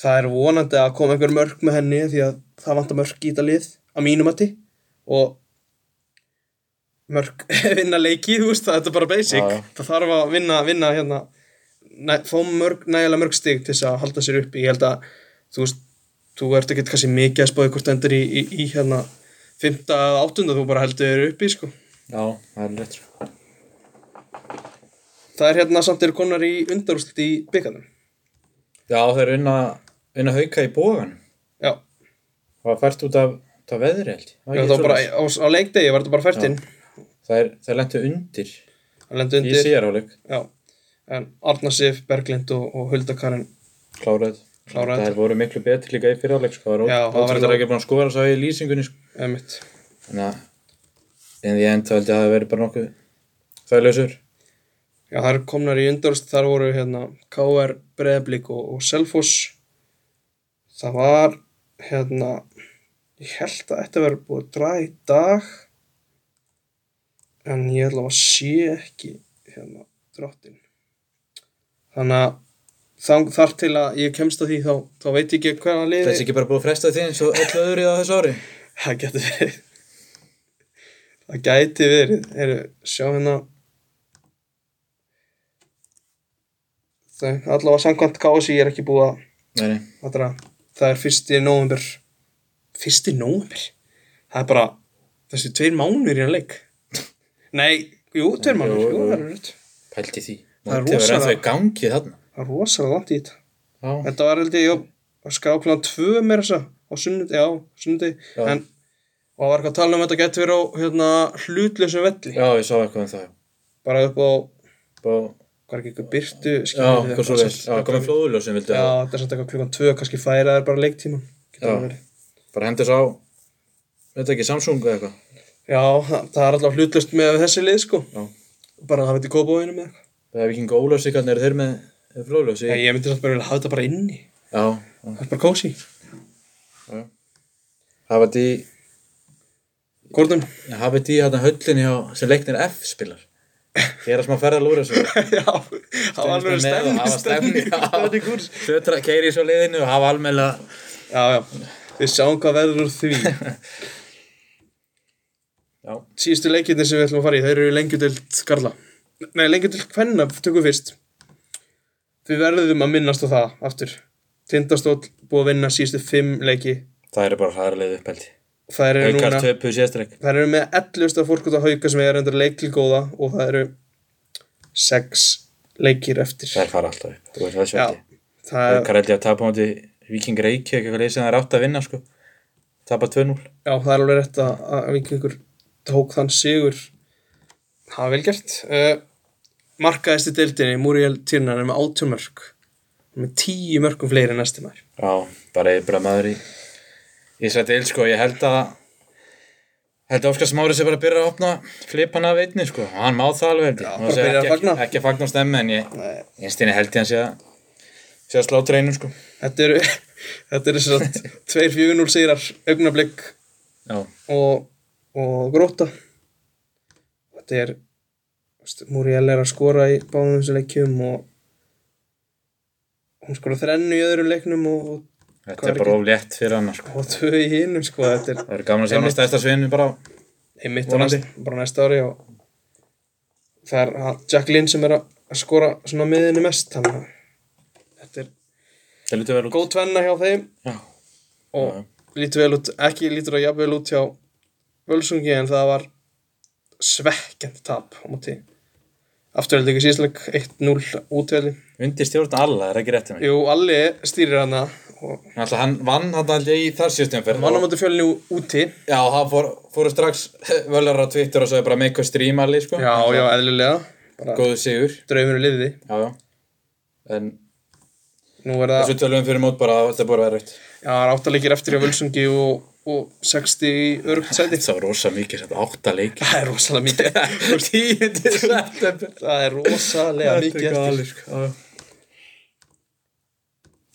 B: það er vonandi að koma einhver mörk með henni því að það vantar mörk í þetta lið að mínum að og mörk vinna leiki, þú veist, það er bara basic
A: Já, já.
B: það þarf að vinna, vinna hérna næ, fá mörg, nægilega mörg stig til þess að halda sér upp ég held að þú veist, þú ert ekki kannski mikið að spáði hvort endur í, í, í hérna fymta eða áttunda þú bara heldur uppi sko.
A: Já, það er rétt sko.
B: Það er hérna samt eru konar í undarúslit í byggarnum.
A: Já, þeir eru inn að, inn að hauka í bógan
B: Já,
A: Það var fært út af, út af veðri held ég. Var
B: Já
A: ekki
B: það var bara
A: svoleiðis?
B: á, á leikdegi var þetta bara fært inn.
A: Þær, þær lentu undir,
B: Það lendi
A: í
B: undir.
A: síðarháleik
B: Já, en Arna Sif, Berglind og, og Hulda Karin.
A: kláraði
B: Kláruðu
A: þetta.
B: þetta.
A: Þær voru miklu betri líka í fyrirháleik sko.
B: Já, það var
A: það
B: nóg.
A: var ekki búin að skora svo í lýsingunni sko.
B: Emitt.
A: Þannig að en því enda held ég að það veri bara nokkuð þægilegsur
B: Já, það eru komnar í undarúslit, þar voru hérna KR, Breiðablík og, og Selfoss. Það var hérna, ég held að þetta verið búið að draga í dag. En ég ætla að sé ekki hérna drottin. Þannig að þang- þar til að ég kemst að því þá, þá veit ég ekki hvaða liði.
A: Þessi ekki bara búið að fresta því eins og öllu öðru í það þessu ári
B: Það gæti verið Það gæti verið Eru, sjá hérna Þau, allavega samkvæmt KSI er ekki búið að-
A: Nei, nei,
B: að draga. Það er fyrsti nóvember Fyrsti nóvember? Það er bara þessi tveir mánuður í hann leik Nei, jú, tveir
A: Jú,
B: mánuður Jú,
A: jú.
B: það er rétt
A: pælti því
B: Það er
A: Mótið var
B: rosalega-
A: ennþá í gangi þarna
B: Það er rosalega langt í þetta
A: Já,
B: Þetta var held ég já, að skráklan tvö meira þess að á sunnundi, já, sunnundi
A: Já.
B: en og það var eitthvað að tala um að þetta getur verið á hérna, hlutlausum velli
A: já ég sá eitthvað um það
B: bara upp á,
A: Bá,
B: hvað er ekki eitthvað byrtu
A: Já, hvað svo leis Já, um komið flóðuljósin vildu
B: Já,
A: að
B: þetta er samt eitthvað klukkan tvö, kannski færa þær bara leiktíma
A: Já.
B: já.
A: bara hendis á Þetta ekki Samsung eða eitthvað
B: já, það það er alltaf hlutlaust með þessi lið sko
A: Já.
B: bara að hafa þetta í kópavóinu með eitthvað
A: Það er vikinga óljósikarnir eru þeir með flóðljósi
B: Já, ég myndi samt bara vilja hafa þetta bara inni
A: Já,
B: það er bara kósi
A: hafa þetta í
B: Gordon,
A: hafa þetta í hérna höllinni hjá- sem leiknir F spilar Ég er að smá ferða lúra svo
B: já, það var
A: Stemning með og
B: alveg stemning
A: hafa stemning, já.
B: stemning kurs
A: Sötra keiri svo leiðinu og hafa almennilega
B: Já, já, við sjáum hvað verður úr því
A: Já,
B: síðustu leikirnir sem við ætlum að fara í þeir eru lengjudild Karla nei, lengjudild Kvenna tökum við fyrst við verðum að minnast á það aftur Tindastóll búið að vinna síðustu fimm leiki
A: það eru bara hræðarlega uppeldi
B: og það eru
A: Haukar
B: núna
A: töpu sérstreik
B: það eru með 11. fórkvöld að hauka sem er endur leiklíkóða og það eru 6 leikir eftir
A: Þær fara alltaf upp, þú veist það
B: já,
A: sjöndi
B: það,
A: Haukar held ég að tapa á móti Viking Reykjavík eitthvað leið sem það er átt að vinna sko Tapa 2-0
B: já, það er alveg rétt að, að vikingur tók þann sigur það er vel gert uh, markaðist í deildinni Muriel Tirnar er með 18 mörg með 10 mörgum fleiri en næstum maður
A: Já, bara ég bara maður í Ég sætti eil sko, ég held að Held að Óskar Smári sé bara að byrja að opna flipana af einni sko, og hann má það alveg held ég Má
B: bara
A: segja
B: byrja að
A: ekki, ekki,
B: fagna.
A: ekki að fagna og stemma en ég
B: Nei.
A: einstinni held ég hann sé að sé að slá treinum sko
B: þetta eru þetta eru svo tveir fjögunúl sigrar augnablik
A: Já,
B: og, og gróta þetta er veist, Muriel er að skora í báðum þessu leikjum og hún skora þrennu í öðrum leiknum og,
A: þetta
B: Hvað
A: er
B: er
A: bara of létt fyrir hann sko.
B: og, og tvö í hinnum sko þetta er
A: Það er gaman að sé hann að stæsta sveinu bara á
B: einmitt á
A: Vonandi.
B: næst, bara næsta ári og það er að Jack Lynn sem er að að skora svona á miðinni mest þannig að þetta er
A: Það lítið vel út.
B: góð tvenna hjá þeim
A: Já.
B: og
A: Já, já.
B: lítur vel út, ekki lítur að jafnvel út hjá Völsungi en það var svekkjant tap á móti afturhald ekki síðsleik 1-0 útveli
A: Undir stjórn alla, er ekki rétt um mig.
B: Jú, Alli stýrir hana og
A: Alltaf hann vann hann aldrei í þar síðustum fyrir.
B: vann á móti fjölinu úti
A: Já, það fór, fóru strax völjar á Twitter og svo er bara make a stream allir, sko.
B: Já, já, eðlilega bara
A: Góðu sigur.
B: draumur liði
A: Já, já. En
B: Nú er það,
A: þessu tölum fyrir mót bara að þetta búið að vera rétt.
B: já, það er áttalegir eftir hjá Völsungi og, og 60 í örugt sæti
A: Þetta var rosa mikið, þetta átta leik.
B: Það er rosalega mikið
A: Tíundi september.
B: Það er rosalega mikið eftir
A: sko. Já, já.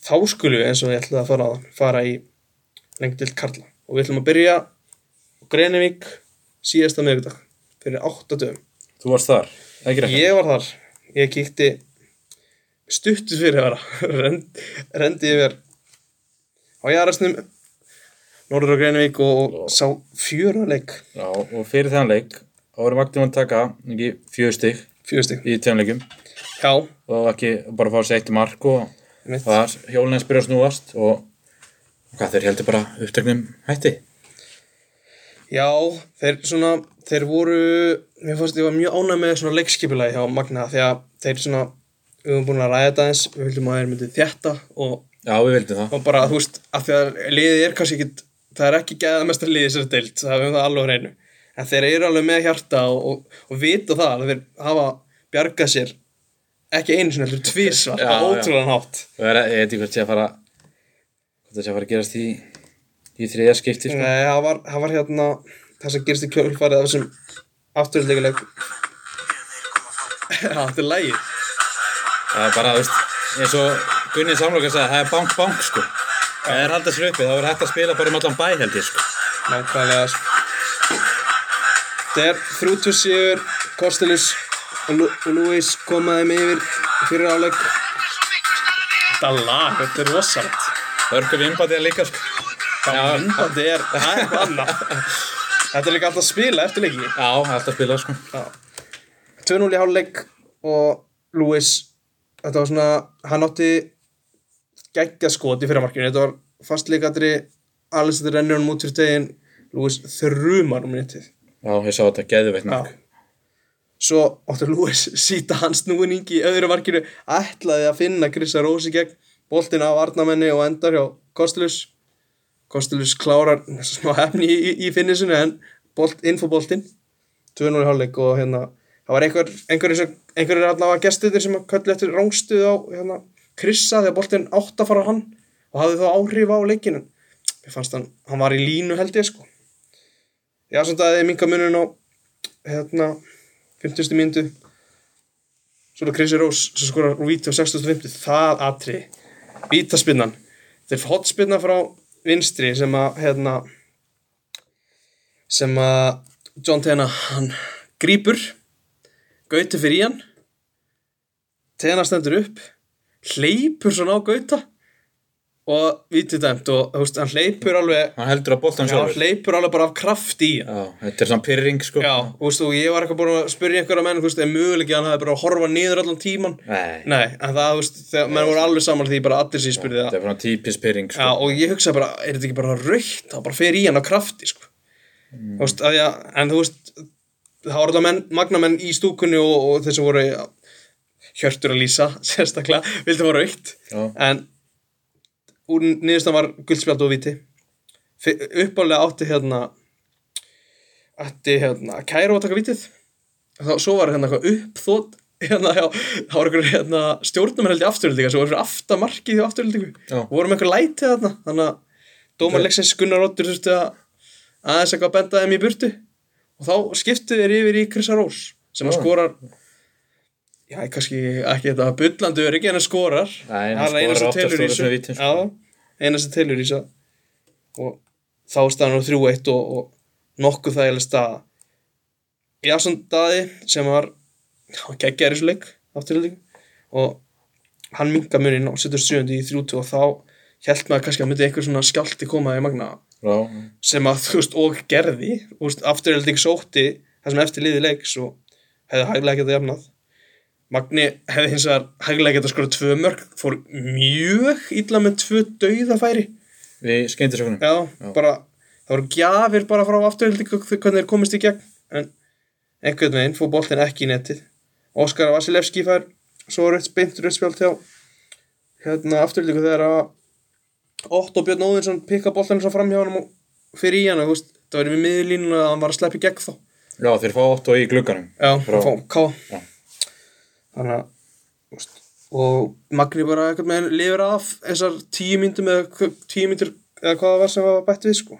B: þá skulum við eins og ég ætlaði að fara, á, fara í lengdild Karla og við ætlum að byrja á Greinivík síðasta miðvikudag fyrir 8 dögum
A: Þú varst þar, ekki rétt.
B: ég var þar, ég kíkti stuttu fyrir að vera Rend, rendi yfir á jarðarsnum Norður og Greinivík og, og sá fjöruleik
A: Já, og fyrir þann leik, þá voru magnum að taka, ekki, fjögur stygg
B: fjörstík,
A: í tjónleikum
B: já,
A: og ekki bara fá sér eitt mark og
B: mitt
A: það hjólinn hans byrja að snúast og hvað þeir heldur bara upptöknum hætti
B: Já, þeir svona, þeir voru, mér fannst ég var mjög ánægð með svona leikskipulagi hjá Magna því að þeir svona, við höfum búin að ræða þetta eins, við vildum að þeir myndið þjætta og,
A: Já, við vildum það.
B: og bara, þú veist, að því að liðið er kannski ekki, það er ekki geðað mest að liðið sér deilt, það höfum það alveg á reynu. En þeir eru alveg með hjarta og, og, og vita það að þeir hafa bjargað sér ekki einu sinni, heldur tvísvar,
A: Já,
B: það
A: já.
B: ótrúlega nátt.
A: Og er- Ég veit ekki hvað sé að fara, hvað það sé að fara að gerast í, í þriðja skipti, sko.
B: Nei, það var, það var hérna það sem gerist í kjölfarið af þessum afturleikuleik Já, þetta er lægið
A: Það er bara, þú veist, eins og Gunnið Samloka sagði, það er bank, bank, sko. Það er haldast hlupið, þá er hægt að spila bara um allan bæ, held ég, sko.
B: Nákvæmlega sko. Þetta er þrjútu sigur Kostelus og, Lu og Luis komaði með yfir fyrir áleik Þetta lag, þetta er rosalegt
A: Örgum innbætið líka, sko.
B: Það
A: Já.
B: myndandi er, það er eitthvað annað Þetta er líka alltaf að spila eftir leiki
A: Já, alltaf spila, sko.
B: Já. 2-0 í háluleik og Lewis þetta var svona, hann átti geggja skot í fyrramarkinu þetta var fastleikatri alveg þetta rennur hann út fyrir tegin Lewis þrjumar um minutið
A: Já, ég sá þetta, geðveitt
B: Já.
A: nokk.
B: svo átti Lewis síta hans núning í öðru markinu ætlaði að finna Krissa Rósi gegn boltin af Arnamenni og endar hjá Kostelus Kostelus klárar smá hefni í, í, í finnisinu en bolt, infoboltin 2-0 í hálfleik og hérna það var einhver, einhverjir sem- einhverjir allavega gestir sem að köllu eftir rángstuð á hérna, Krissa þegar boltinn átt að fara á hann og hafði þá áhrif á leikinu mér fannst hann, hann var í línu held ég sko já samt að þið minga munun á hérna 50. myndu svona Krissi Rós sem skorar úr víti á 65. það atri vítaspinnan þetta er hotspinna frá vinstri sem að hérna sem að John Tena hann grípur gauti fyrir í hann Tena stendur upp hleypur svona á gauta og vítið dæmt og þú veist, hann hleypur alveg
A: Hann heldur að boltan
B: hann
A: sjálfur.
B: hleypur alveg bara af kraft í hann
A: Já, þetta er svona pyrring, sko.
B: Já, þú veist, og ég var eitthvað búin að spyrja einhverja menn, þú veist, er möguleik að hann hafi bara að horfa niður allan tíman?
A: Nei,
B: Nei, en það, þú veist, þegar menn voru alveg saman því bara allir sem ég spurði
A: þetta
B: það.
A: er svona típis pyrring,
B: Já,
A: sko.
B: og ég hugsaði bara, er þetta ekki bara raukt? Það bara fer í hann á krafti, sko. Þú veist, að ég, en þú veist, það voru þetta menn, magnamenn í stúkunni og, og þeir sem voru ja, hjörtur að lýsa, sérstaklega, vildi það var raukt.
A: Já.
B: En úr niðurstan var guldspjald og viti uppálega átti hérna átti hérna Kæro að taka vitið þá, svo var hérna eitthvað uppþót hérna, já, það var einhver hérna stjórnum held í afturöldinga sem voru fyrir aftamarkið í afturöldingu
A: Já.
B: og voru með eitthvað lætið þarna þannig að dómar leiksins Gunnar Oddur þurfti að aðeins eitthvað að benda þeim í burtu og þá skiptu þeir yfir í Krissa Rós sem að
A: Já.
B: skorar já, kannski ekki þetta bullandi öryggi en að skorar
A: Nei, hann
B: Það er eina
A: skorar
B: sem
A: oftast
B: telur í
A: úr þessum
B: þessu
A: vítum, sko.
B: Já, eina sem telur í þessu og þá er staðan á 3-1 og, og nokkuð þægileg staða Jason Daði sem var geggjær í þessu leik afturleik og hann minga muninn og setur 7. í 3-2 og þá held maður kannski að myndi einhver svona skjálti koma í magna
A: Já,
B: sem að þú veist og gerði Þú veist, afturhelding sótti það sem eftir liði leiks og hefði hæglega getað jafnað Magni hefði hins vegar hæglega getað skorað tvö mörg fór mjög illa með tvö dauðafæri
A: við skemmtisökunum.
B: já, bara það voru gjafir bara frá afturhelding hvernig þeir komist í gegn en einhvern veginn fór boltinn ekki í netið Óskar Vasilevski fær svo rautt beint rauðspjald hjá hérna afturlíku þegar að Otto Björn Óðinsson pikka boltan svo fram hjá hann og fyrir í hann og þú veist, það verið með miðlínuna að hann var að sleppa í gegn þá
A: Já, þeir fá 8 í glugganum.
B: Já,
A: Frá-
B: frá K
A: Já.
B: Þannig að þú veist, og Magni bara eitthvað með lifir af þessar tíu myndum eða hva- tíu myndur eða hvað það var sem var bætt við sko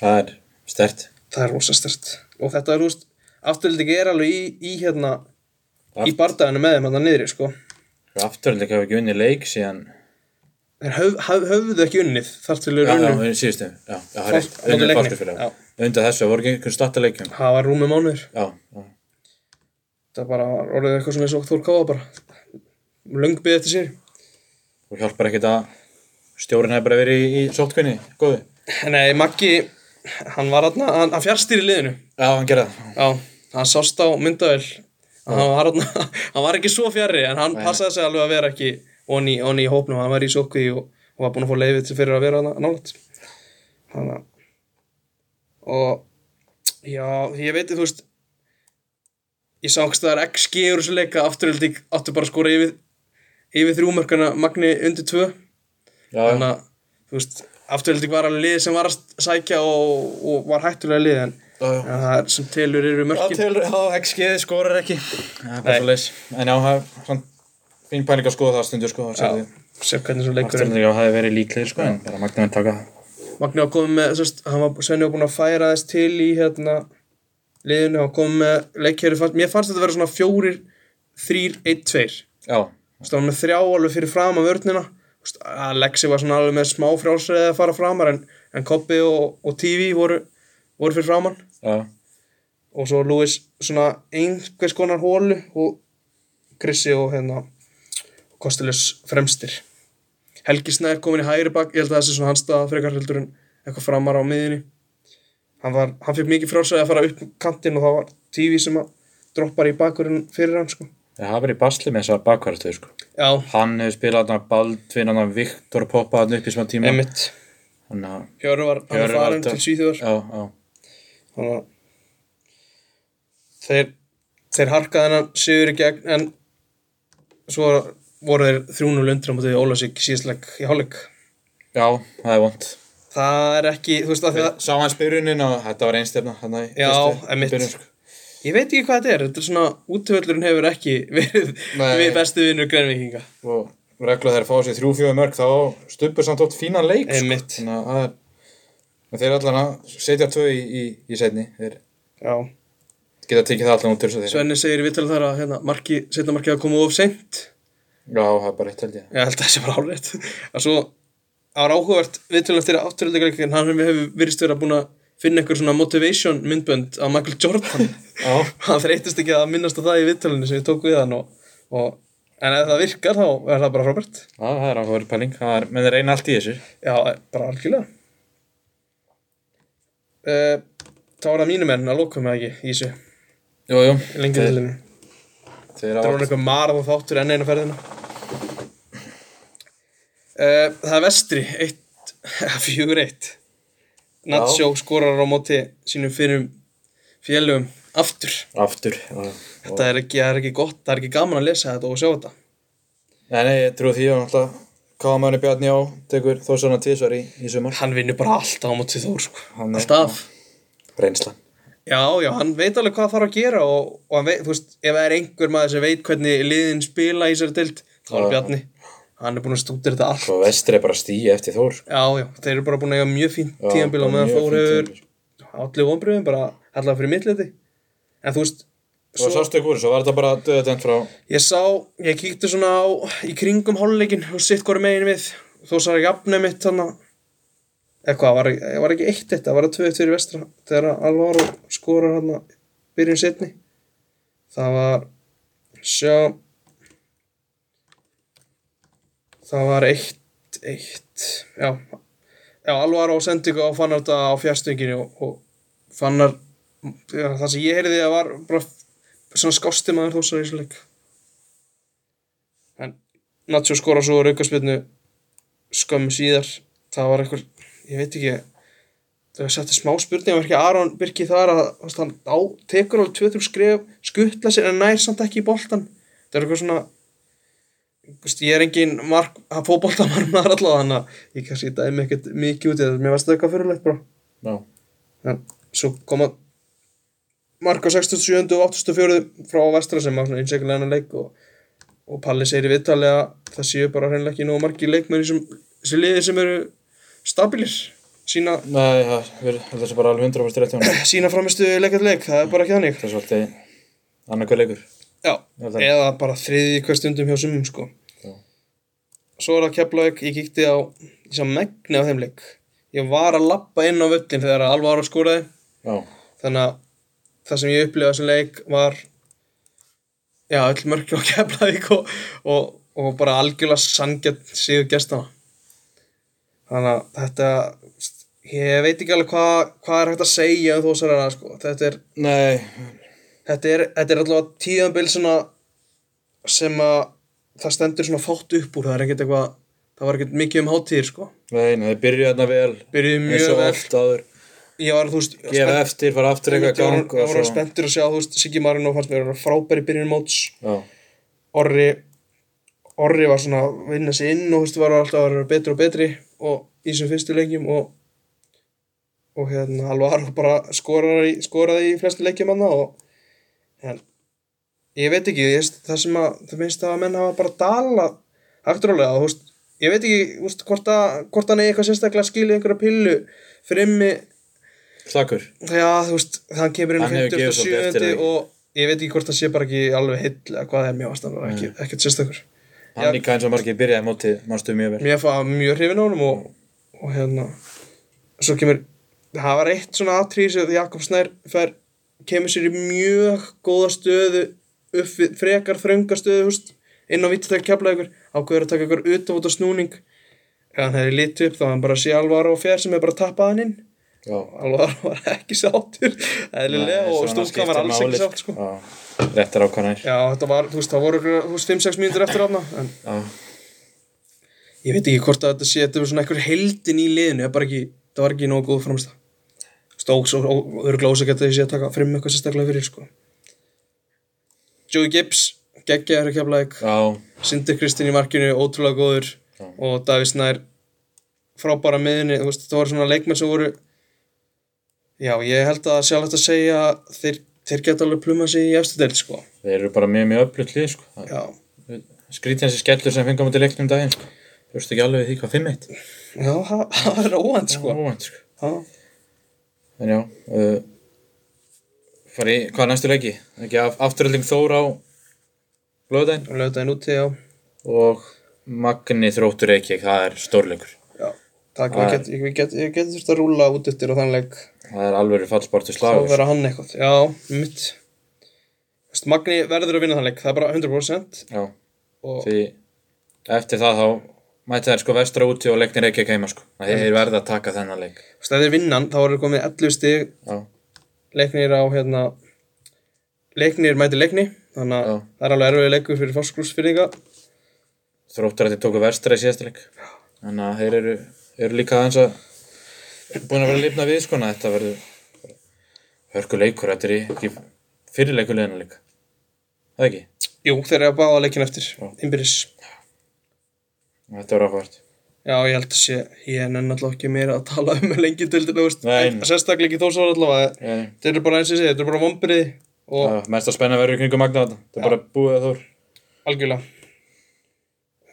A: Það er stert.
B: það er rosa stert og þetta er úst afturlíku er alveg í, í hérna í
A: Aft-
B: bardaginu með þeim þannig niðri sko
A: Afturölding hafa ekki unnið leik síðan...
B: þeir höf, höf, höfðu ekki unnið þar til þeir
A: Já, já,
B: unnið
A: unnið síðustu. Já, já, það er
B: Fál-
A: rétt.
B: á móti
A: Unnið
B: leikni.
A: fáskurfélag. Undir þessu voru ekki einhvern starta leikjum.
B: það var rúmi mánuður
A: Já, já.
B: það er bara orðið eitthvað svona eins og Þór Káa bara löngbyð eftir sér
A: Og hjálpar ekkert að stjórinn hefur bara verið í, í sótkvinni. Góði.
B: nei Maggi hann var aðna hann, hann fjárstýri liðinu
A: Já, hann gerði það.
B: já hann sást á myndavel hann var aðna hann var ekki svo fjarrri en hann passaði sig alveg að vera ekki onni, onni í hópnum hann var í sókvi og, og var búin að fá leifið til fyrir að vera aðna nálægt þannig að og Já, ég veit, þú veist Ég sá ekki staðar XG úr þessu leika afturöldi áttu bara að skora yfir yfir þrjúmörkana Magni undir tvö
A: Já,
B: þannig að, þú veist, afturöldi var alveg lið sem var að sækja og, og var hættulega lið en,
A: já, já.
B: en það er sem telur yfir
A: Já,
B: mörkin
A: til, já, XG skorar ekki Það er bara
B: Nei.
A: svo leys En já, það er svona fín pæling að skoða það stundu sko
B: Já, sér hvernig svo leikur
A: Afturlega það hefði verið líklegir sko En bara magnum að taka það
B: Magni var komið með, þú veist, hann var Svenni var búin að færa þess til í hérna liðinu, hann var komið með leikherri fannst, mér fannst þetta að vera svona fjórir þrýr, einn, tveir
A: Já,
B: Þú veist, hann var með þrjá alveg fyrir fram að vörnina Þú veist, Alexi var svona alveg með smá frjálsreið að fara framar en, en Koppi og, og TV voru, voru fyrir framann
A: já,
B: og svo Lewis svona einhvers konar hólu og Krissi og hérna Kostelis fremstir Helgi Snær komin í hægri bak ég held að það sé svona hans staða frekar heldur en eitthvað framar á miðinni hann, var, hann fikk mikið frjálsreið að fara upp kantinn og það var TV sem að droppar í bakurinn fyrir hann sko
A: það hafa verið í basli með þessa bakvarastöðu sko
B: Já,
A: Hann hefur spilað hann Baldvin, hann Viktor poppað hann upp í smá tíma
B: einmitt
A: Þannig að,
B: Hjörvar, hann var
A: Hjörvar
B: farin
A: Ardal.
B: til Svíþjóðar
A: já, já
B: þannig að þeir, þeir harkaði hennan sigur í gegn en svo voru þeir 300 lundir á mótið Ólasík síðastleik í hálfleik
A: Já, það er vond
B: það er ekki, þú veist að því að
A: Sá hans byrjunin og þetta var einstefna hann að
B: Já, einmitt.
A: sko.
B: ég veit ekki hvað þetta er, þetta er svona útvöllurinn hefur ekki verið
A: Nei.
B: við bestu vinnur grænvikinga
A: Og regla þeir fá sér þrjú fjóðu mörg þá stupur samt oft fínan leik sko.
B: Einmitt.
A: Þannig að það er en Þeir allan að setja tvö í, í, í setni Þeir
B: Já.
A: geta tekið það allan út úr þessu þeir
B: Svenni segir við til þar að hérna, marki, setna markið að koma of seint
A: Já, það er bara eitt held ég
B: ég held að það sé bara árétt að svo, það var áhugavert viðtölu eftir afturöldagrænvingin, hann hefur virðist vera búin að finna einhver svona motivation myndbönd af Michael Jordan
A: Já,
B: hann þreytist ekki að minnast á það í viðtölunni sem ég tók við hann og, og, en ef það virkar þá er það bara frábært
A: já, það er áhugaverð pæling Það er, menn þeir reyna allt í þessu
B: já, eh, bara algjörlega uh, þá var það mínum enn að lokum eða ekki í þessu
A: Jú, jú
B: lengi
A: Þeir-
B: til henni
A: Þeir
B: það
A: hafa
B: var eitthvað marðum þáttur enn einu ferðina uh, það er vestri 4-1 Natsjó skorar á móti sínum fyrir félögum aftur
A: aftur já, já.
B: þetta er ekki, það er ekki gott, það er ekki gaman að lesa þetta og sjá þetta
A: Nei, nei, ég trúi því að náttúrulega Kámanni Bjarni á tekur þó svona tísvar í, í sumar
B: hann vinnur bara alltaf á móti Þór sko.
A: Hann er-
B: alltaf
A: Reynslan
B: já, já, hann veit alveg hvað þarf að gera og, og hann veit, þú veist, ef það er einhver maður sem veit hvernig liðin spila í þessari deild þá er
A: Já.
B: Bjarni, hann er búin að stútir þetta allt
A: Svo vestri er bara stíi eftir Þór sko.
B: já, já, þeir eru bara búin að eiga mjög fínt
A: Já,
B: tíðanbíl og
A: bara
B: meðan
A: mjög
B: Þór
A: fínt
B: hefur
A: tímabil, sko.
B: allir vonbröðum, bara allar fyrir mittliti en þú veist,
A: Svo sástu ykkur, svo var þetta bara döðatönd frá
B: Ég sá, ég kíkti svona á í kringum hálfleikin og sitt hvori megin við þó sá ég jafnum mitt þannig eitthvað, var, ég var ekki eitt þetta, var að tvöð fyrir vestra þegar Alvaro skorar hann að byrjun setni það var sjá það var eitt eitt, já já, Alvaro sendi ykkur á fannar þetta á fjastönginu og, og fannar já, það sem ég heyrði að var bara svona skásti maður þó sá í svo leik en Nacho skora svo raukaspilnu skömmu síðar það var einhver, ég veit ekki það var sett smá spurning var ekki Aron Birki þar að þú veist, hann á, tekur alveg tvö þrjum skref skuttla sér en nær samt ekki í boltan það er eitthvað svona þú veist, ég er engin mark að fóbolta maður maður allavega þannig að ég kannski dæmi ekkert mikið út í þetta mér varst það eitthvað fyrirlegt bara
A: Já,
B: en svo koma mark á 67. og 84. frá vestra sem var svona einsækulega hennar leik og, og Palli segir í viðtali að það séu bara hreinlega ekki nógu margi leikmenni sem, sem liði sem eru stabilir sína,
A: nei, það verður þetta er bara alveg 100% rétt hjá hann
B: sína framistu leikat leik, það er bara ekki þannig
A: Það er svolítið annarkvæð leikur
B: Já,
A: Þetta-
B: eða bara þriði hver stundum hjá sumum sko
A: Já.
B: Svo er það Keflavík, ég kíkti á ég sá megni á þeim leik ég var að lappa inn á völlin þegar að Alvar skoraði
A: Já,
B: þannig að það sem ég upplifaði á þessum leik var já, öll mörkja og keflaðik og, og, og bara algjörlega sangjart síður gestana þannig að þetta ég veit ekki alveg hvað hva er hægt að segja um þósarana sko. þetta er,
A: nei,
B: þetta er, þetta er allavega tíðanbíl svona sem að það stendur svona fátt upp úr það er ekkert eitthvað það var ekkert mikið um hátíðir sko
A: nei, nei, þeir byrjuðu þarna vel
B: byrjuði
A: eins
B: mjög
A: og
B: vel
A: oft áður
B: ég var, þú veist,
A: gefa eftir, fara aftur eitthvað í gang
B: Ég
A: og
B: var
A: svo
B: spenntur að sjá, þú veist, Siggi Marino fannst mér að vera frábæri byrjun móts
A: já,
B: Orri Orri var svona að vinna sig inn og þú veist, var alltaf að vera betri og betri og í þessum fyrstu leikjum og og hérna Alvaro bara skoraði, skoraði í flestu leikjum hann og en, ég veit ekki, ég, veist, það sem að það finnst að menn hafa bara dala afturlega, þú veist, ég veit ekki þú veist, hvort, að, hvort hann er eitthvað sérstaklega skilið einhverja pillu frimmi
A: slakur
B: Já, þú veist, hann kemur inn
A: Hann hefur gefið svolítið eftir
B: 57.
A: það.
B: og ég veit ekki hvort það sé bara ekki alveg heill eða hvað það er mjög aðstæðan ekki, ekkert sérstakur.
A: hann líka eins og margir byrjaði mótið, mannstu mjög vel
B: Mér fá mjög hrifin á honum og, og hérna svo kemur, það var eitt svona atrið sem Jakob Snær fer, kemur sér í mjög góða stöðu upp við frekar þrönga stöðu, þú veist, inn á vitið þegar kefla ykkur, ákveður að taka ykkur utan út á snúning ef hann hefði litið upp þá hann bara sé alvar og fjær sem er bara tappað hann inn
A: já,
B: Alvar var ekki sáttur eðlilega
A: Nei, svona
B: og stúlkan var
A: skiptir
B: alls ekki
A: máli,
B: sátt sko.
A: já, réttar ákvæðanir
B: Já, þetta var, þú veist, það voru örugglega, þú veist, 5-6 mínútur eftir hana en
A: já,
B: ég veit ekki hvort að þetta sé, þetta var svona einhver heldin í liðinu, það, bara ekki, það var ekki nógu góð framist það Stóks og örglósa geta þessi að taka frim eitthvað sérstaklega fyrir sko. Joey Gibbs geggjaður í keflæk
A: já,
B: Sindur Kristinn í markinu, ótrúlega góður og Davís Nær frábæra miðinni, þú veist, þetta voru svona leikmenn sem voru já, ég held að sjálfhætt að segja að þeir, þeir geta alveg pluma sig í efstu deild, sko
A: þeir eru bara mjög mjög öflut lið sko. Það-
B: já,
A: skrítið þessi skellur sem fengið á mútið leiknum daginn sko. þú veist ekki alveg við því hvað 5-1
B: já, það það er óvænt, sko
A: óvænt sko.
B: já,
A: en já uh, fari, hvað er næstu leiki? ekki af, afturölding Þór á blöðdæn
B: lögtaðin úti, já
A: og Magni þróttur ekki það er stórleikur
B: já, takk, ég get, ég get, ég get þurft að rúla út eftir á þann leik
A: það er alveg fallspartu
B: þá
A: slagur
B: vera hann eitthvað, já, mitt Vist, Magni verður að vinna þann leik, það er bara 100%
A: já,
B: og
A: því eftir það þá mæta þær sko vestra úti og leiknir ekki heima sko það er verða að taka þennan leik
B: vist, ef þeir vinnan, þá eru komið 11 stig
A: já,
B: leiknir á hérna leiknir mæti leikni þannig að
A: Já.
B: það er alveg erfið leikur fyrir fórskursfyrringa
A: þróttur að þið tóku vestra í síðasta leik þannig að þeir eru, eru líka aðeins að búin að vera að lifna við sko þannig að þetta verður hörku leikur þetta er í- ekki fyrir leikulegina líka það ekki,
B: jú þeir eru að báða leikin eftir innbyrðis
A: þetta verður áhvert
B: já ég held að sé ég nenni alltaf ekki meira að tala um lengi til þetta
A: Nei.
B: sérstaklega ekki þósar allavega þeir eru bara eins og ég segi þeir eru bara vombrið og
A: mest að spenna verður í kringum Magna þetta þetta er bara búið að þór
B: algjörlega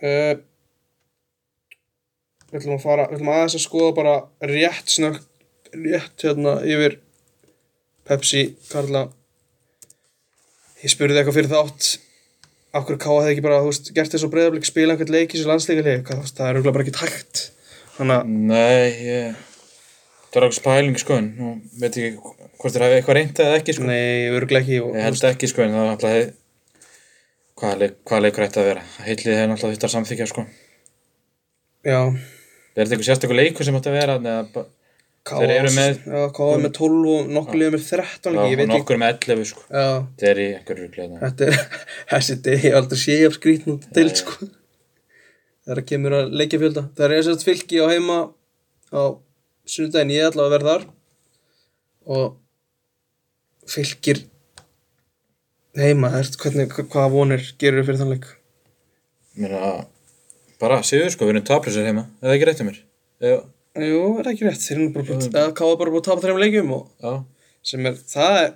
B: uh, við ætlum að fara við ætlum aðeins að skoða bara rétt snögt rétt hérna yfir Pepsi Karla ég spurði eitthvað fyrir þátt af hverju káða þið ekki bara þú veist, gert þess að breyðarblik spila einhvern leik í þessu landsleikaleik Hvað, þú veist, það er auðvitað bara ekki takt þannig að
A: Nei, ég... Það er okkur spæling sko, en nú veit ég ekki hvort þér hafi eitthvað reyndað eða ekki sko.
B: nei, auðvitað ekki og,
A: Ég held ekki sko, en það er alltaf hef... Hvaða leik, hvað leikur ætti að vera? Heillið hefði alltaf þetta samþykja sko.
B: já,
A: Er þetta eitthvað sérstakur leikur sem átti að vera? Neða, ba...
B: káða
A: eru með-
B: já, káða með 12 og nokkur liður með 13
A: Já,
B: ekki, ég
A: og
B: veit ekki
A: nokkur með 11 sko.
B: já,
A: Þetta er í einhverju hérna. ruglega.
B: Þetta er, þessi degi ég aldrei sé af skrýtnum deild sko þegar það kemur að leikja fjölda það er eins og fylki á heima á sunnudaginn, ég ætla að verða þar og fylkir heima, er, hvernig, hva- hvaða vonir gerur þau fyrir þann leik?
A: Mér að... Bara, séu sko, við erum taplusir heima. Eða ekki rétt um mér? Já.
B: Jú, er ekki rétt, þeir eru nú bara búin að káða bara búin að tapa þreim leikjum og
A: Já.
B: sem er, það er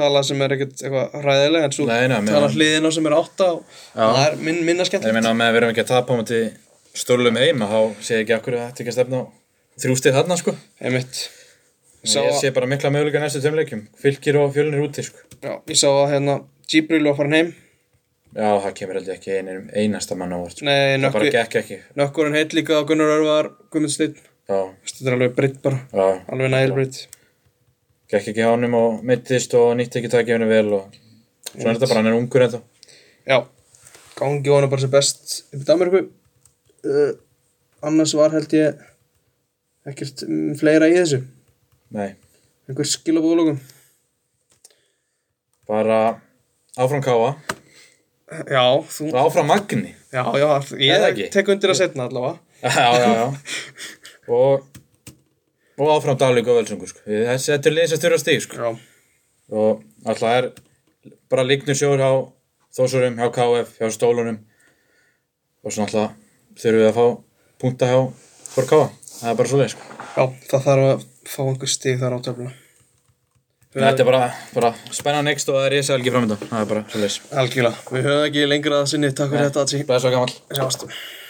B: tala sem er ekkert eitthvað ræðilega en svo
A: Nei, nei, mér-
B: tala hliðin á sem er átta og það er minn, minna skemmt
A: Ég meina, með að við erum ekki að tapa á móti stórlum heima, þá sé ég ekki akkur að þetta ekki að stefna á þrjústið þarna sko.
B: einmitt
A: Sá... Ég sé bara mikla möguleika næstu tveim leikjum. Fylgir og fjölnir úti, sko.
B: Já, ég sá að hérna Jibril var farin heim
A: Já, það kemur heldur ekki einum einasta mann á vart, sko.
B: Nei,
A: það bara
B: nökkvi
A: gekk ekki.
B: Nökkurinn heitt líka og Gunnar Örvar Guðmundsneitt
A: Já,
B: Þetta er alveg breytt bara
A: já,
B: Alveg nægil breytt
A: gekk ekki honum og meittist og nýtti ekki takifinu vel og svona er þetta bara, hann er ungur ennþá.
B: Já Gangi honum bara sem best upp í Danmarku uh, Annars var held ég ekkert mm, fleira í þessu
A: Nei,
B: Einhver skilabúðlókum
A: bara áfram Káa
B: Já, þú
A: og áfram Magni.
B: Já, já,
A: Eða
B: ég
A: ekki?
B: tek undir að setna allavega
A: já, já, já. Og og áfram Dalík og Völsungur sko. Þessi- þetta er liðin sem þurfa stig sko.
B: Já,
A: og alltaf er bara líknur sjóður hjá Þósurum, hjá KF, hjá Stólunum og svona alltaf þurfum við að fá punta hjá Þorkáa, það er bara svo leið sko.
B: já það þarf að fá einhver stig þar á töfluna.
A: þetta er bara, bara spennan next og það er ég segja ekki framöndan það er bara svo leið
B: Algjörlega, við höfum ekki lengra að sinni, takk fyrir þetta, Atsi.
A: Blæs og gamall
B: Sjástu.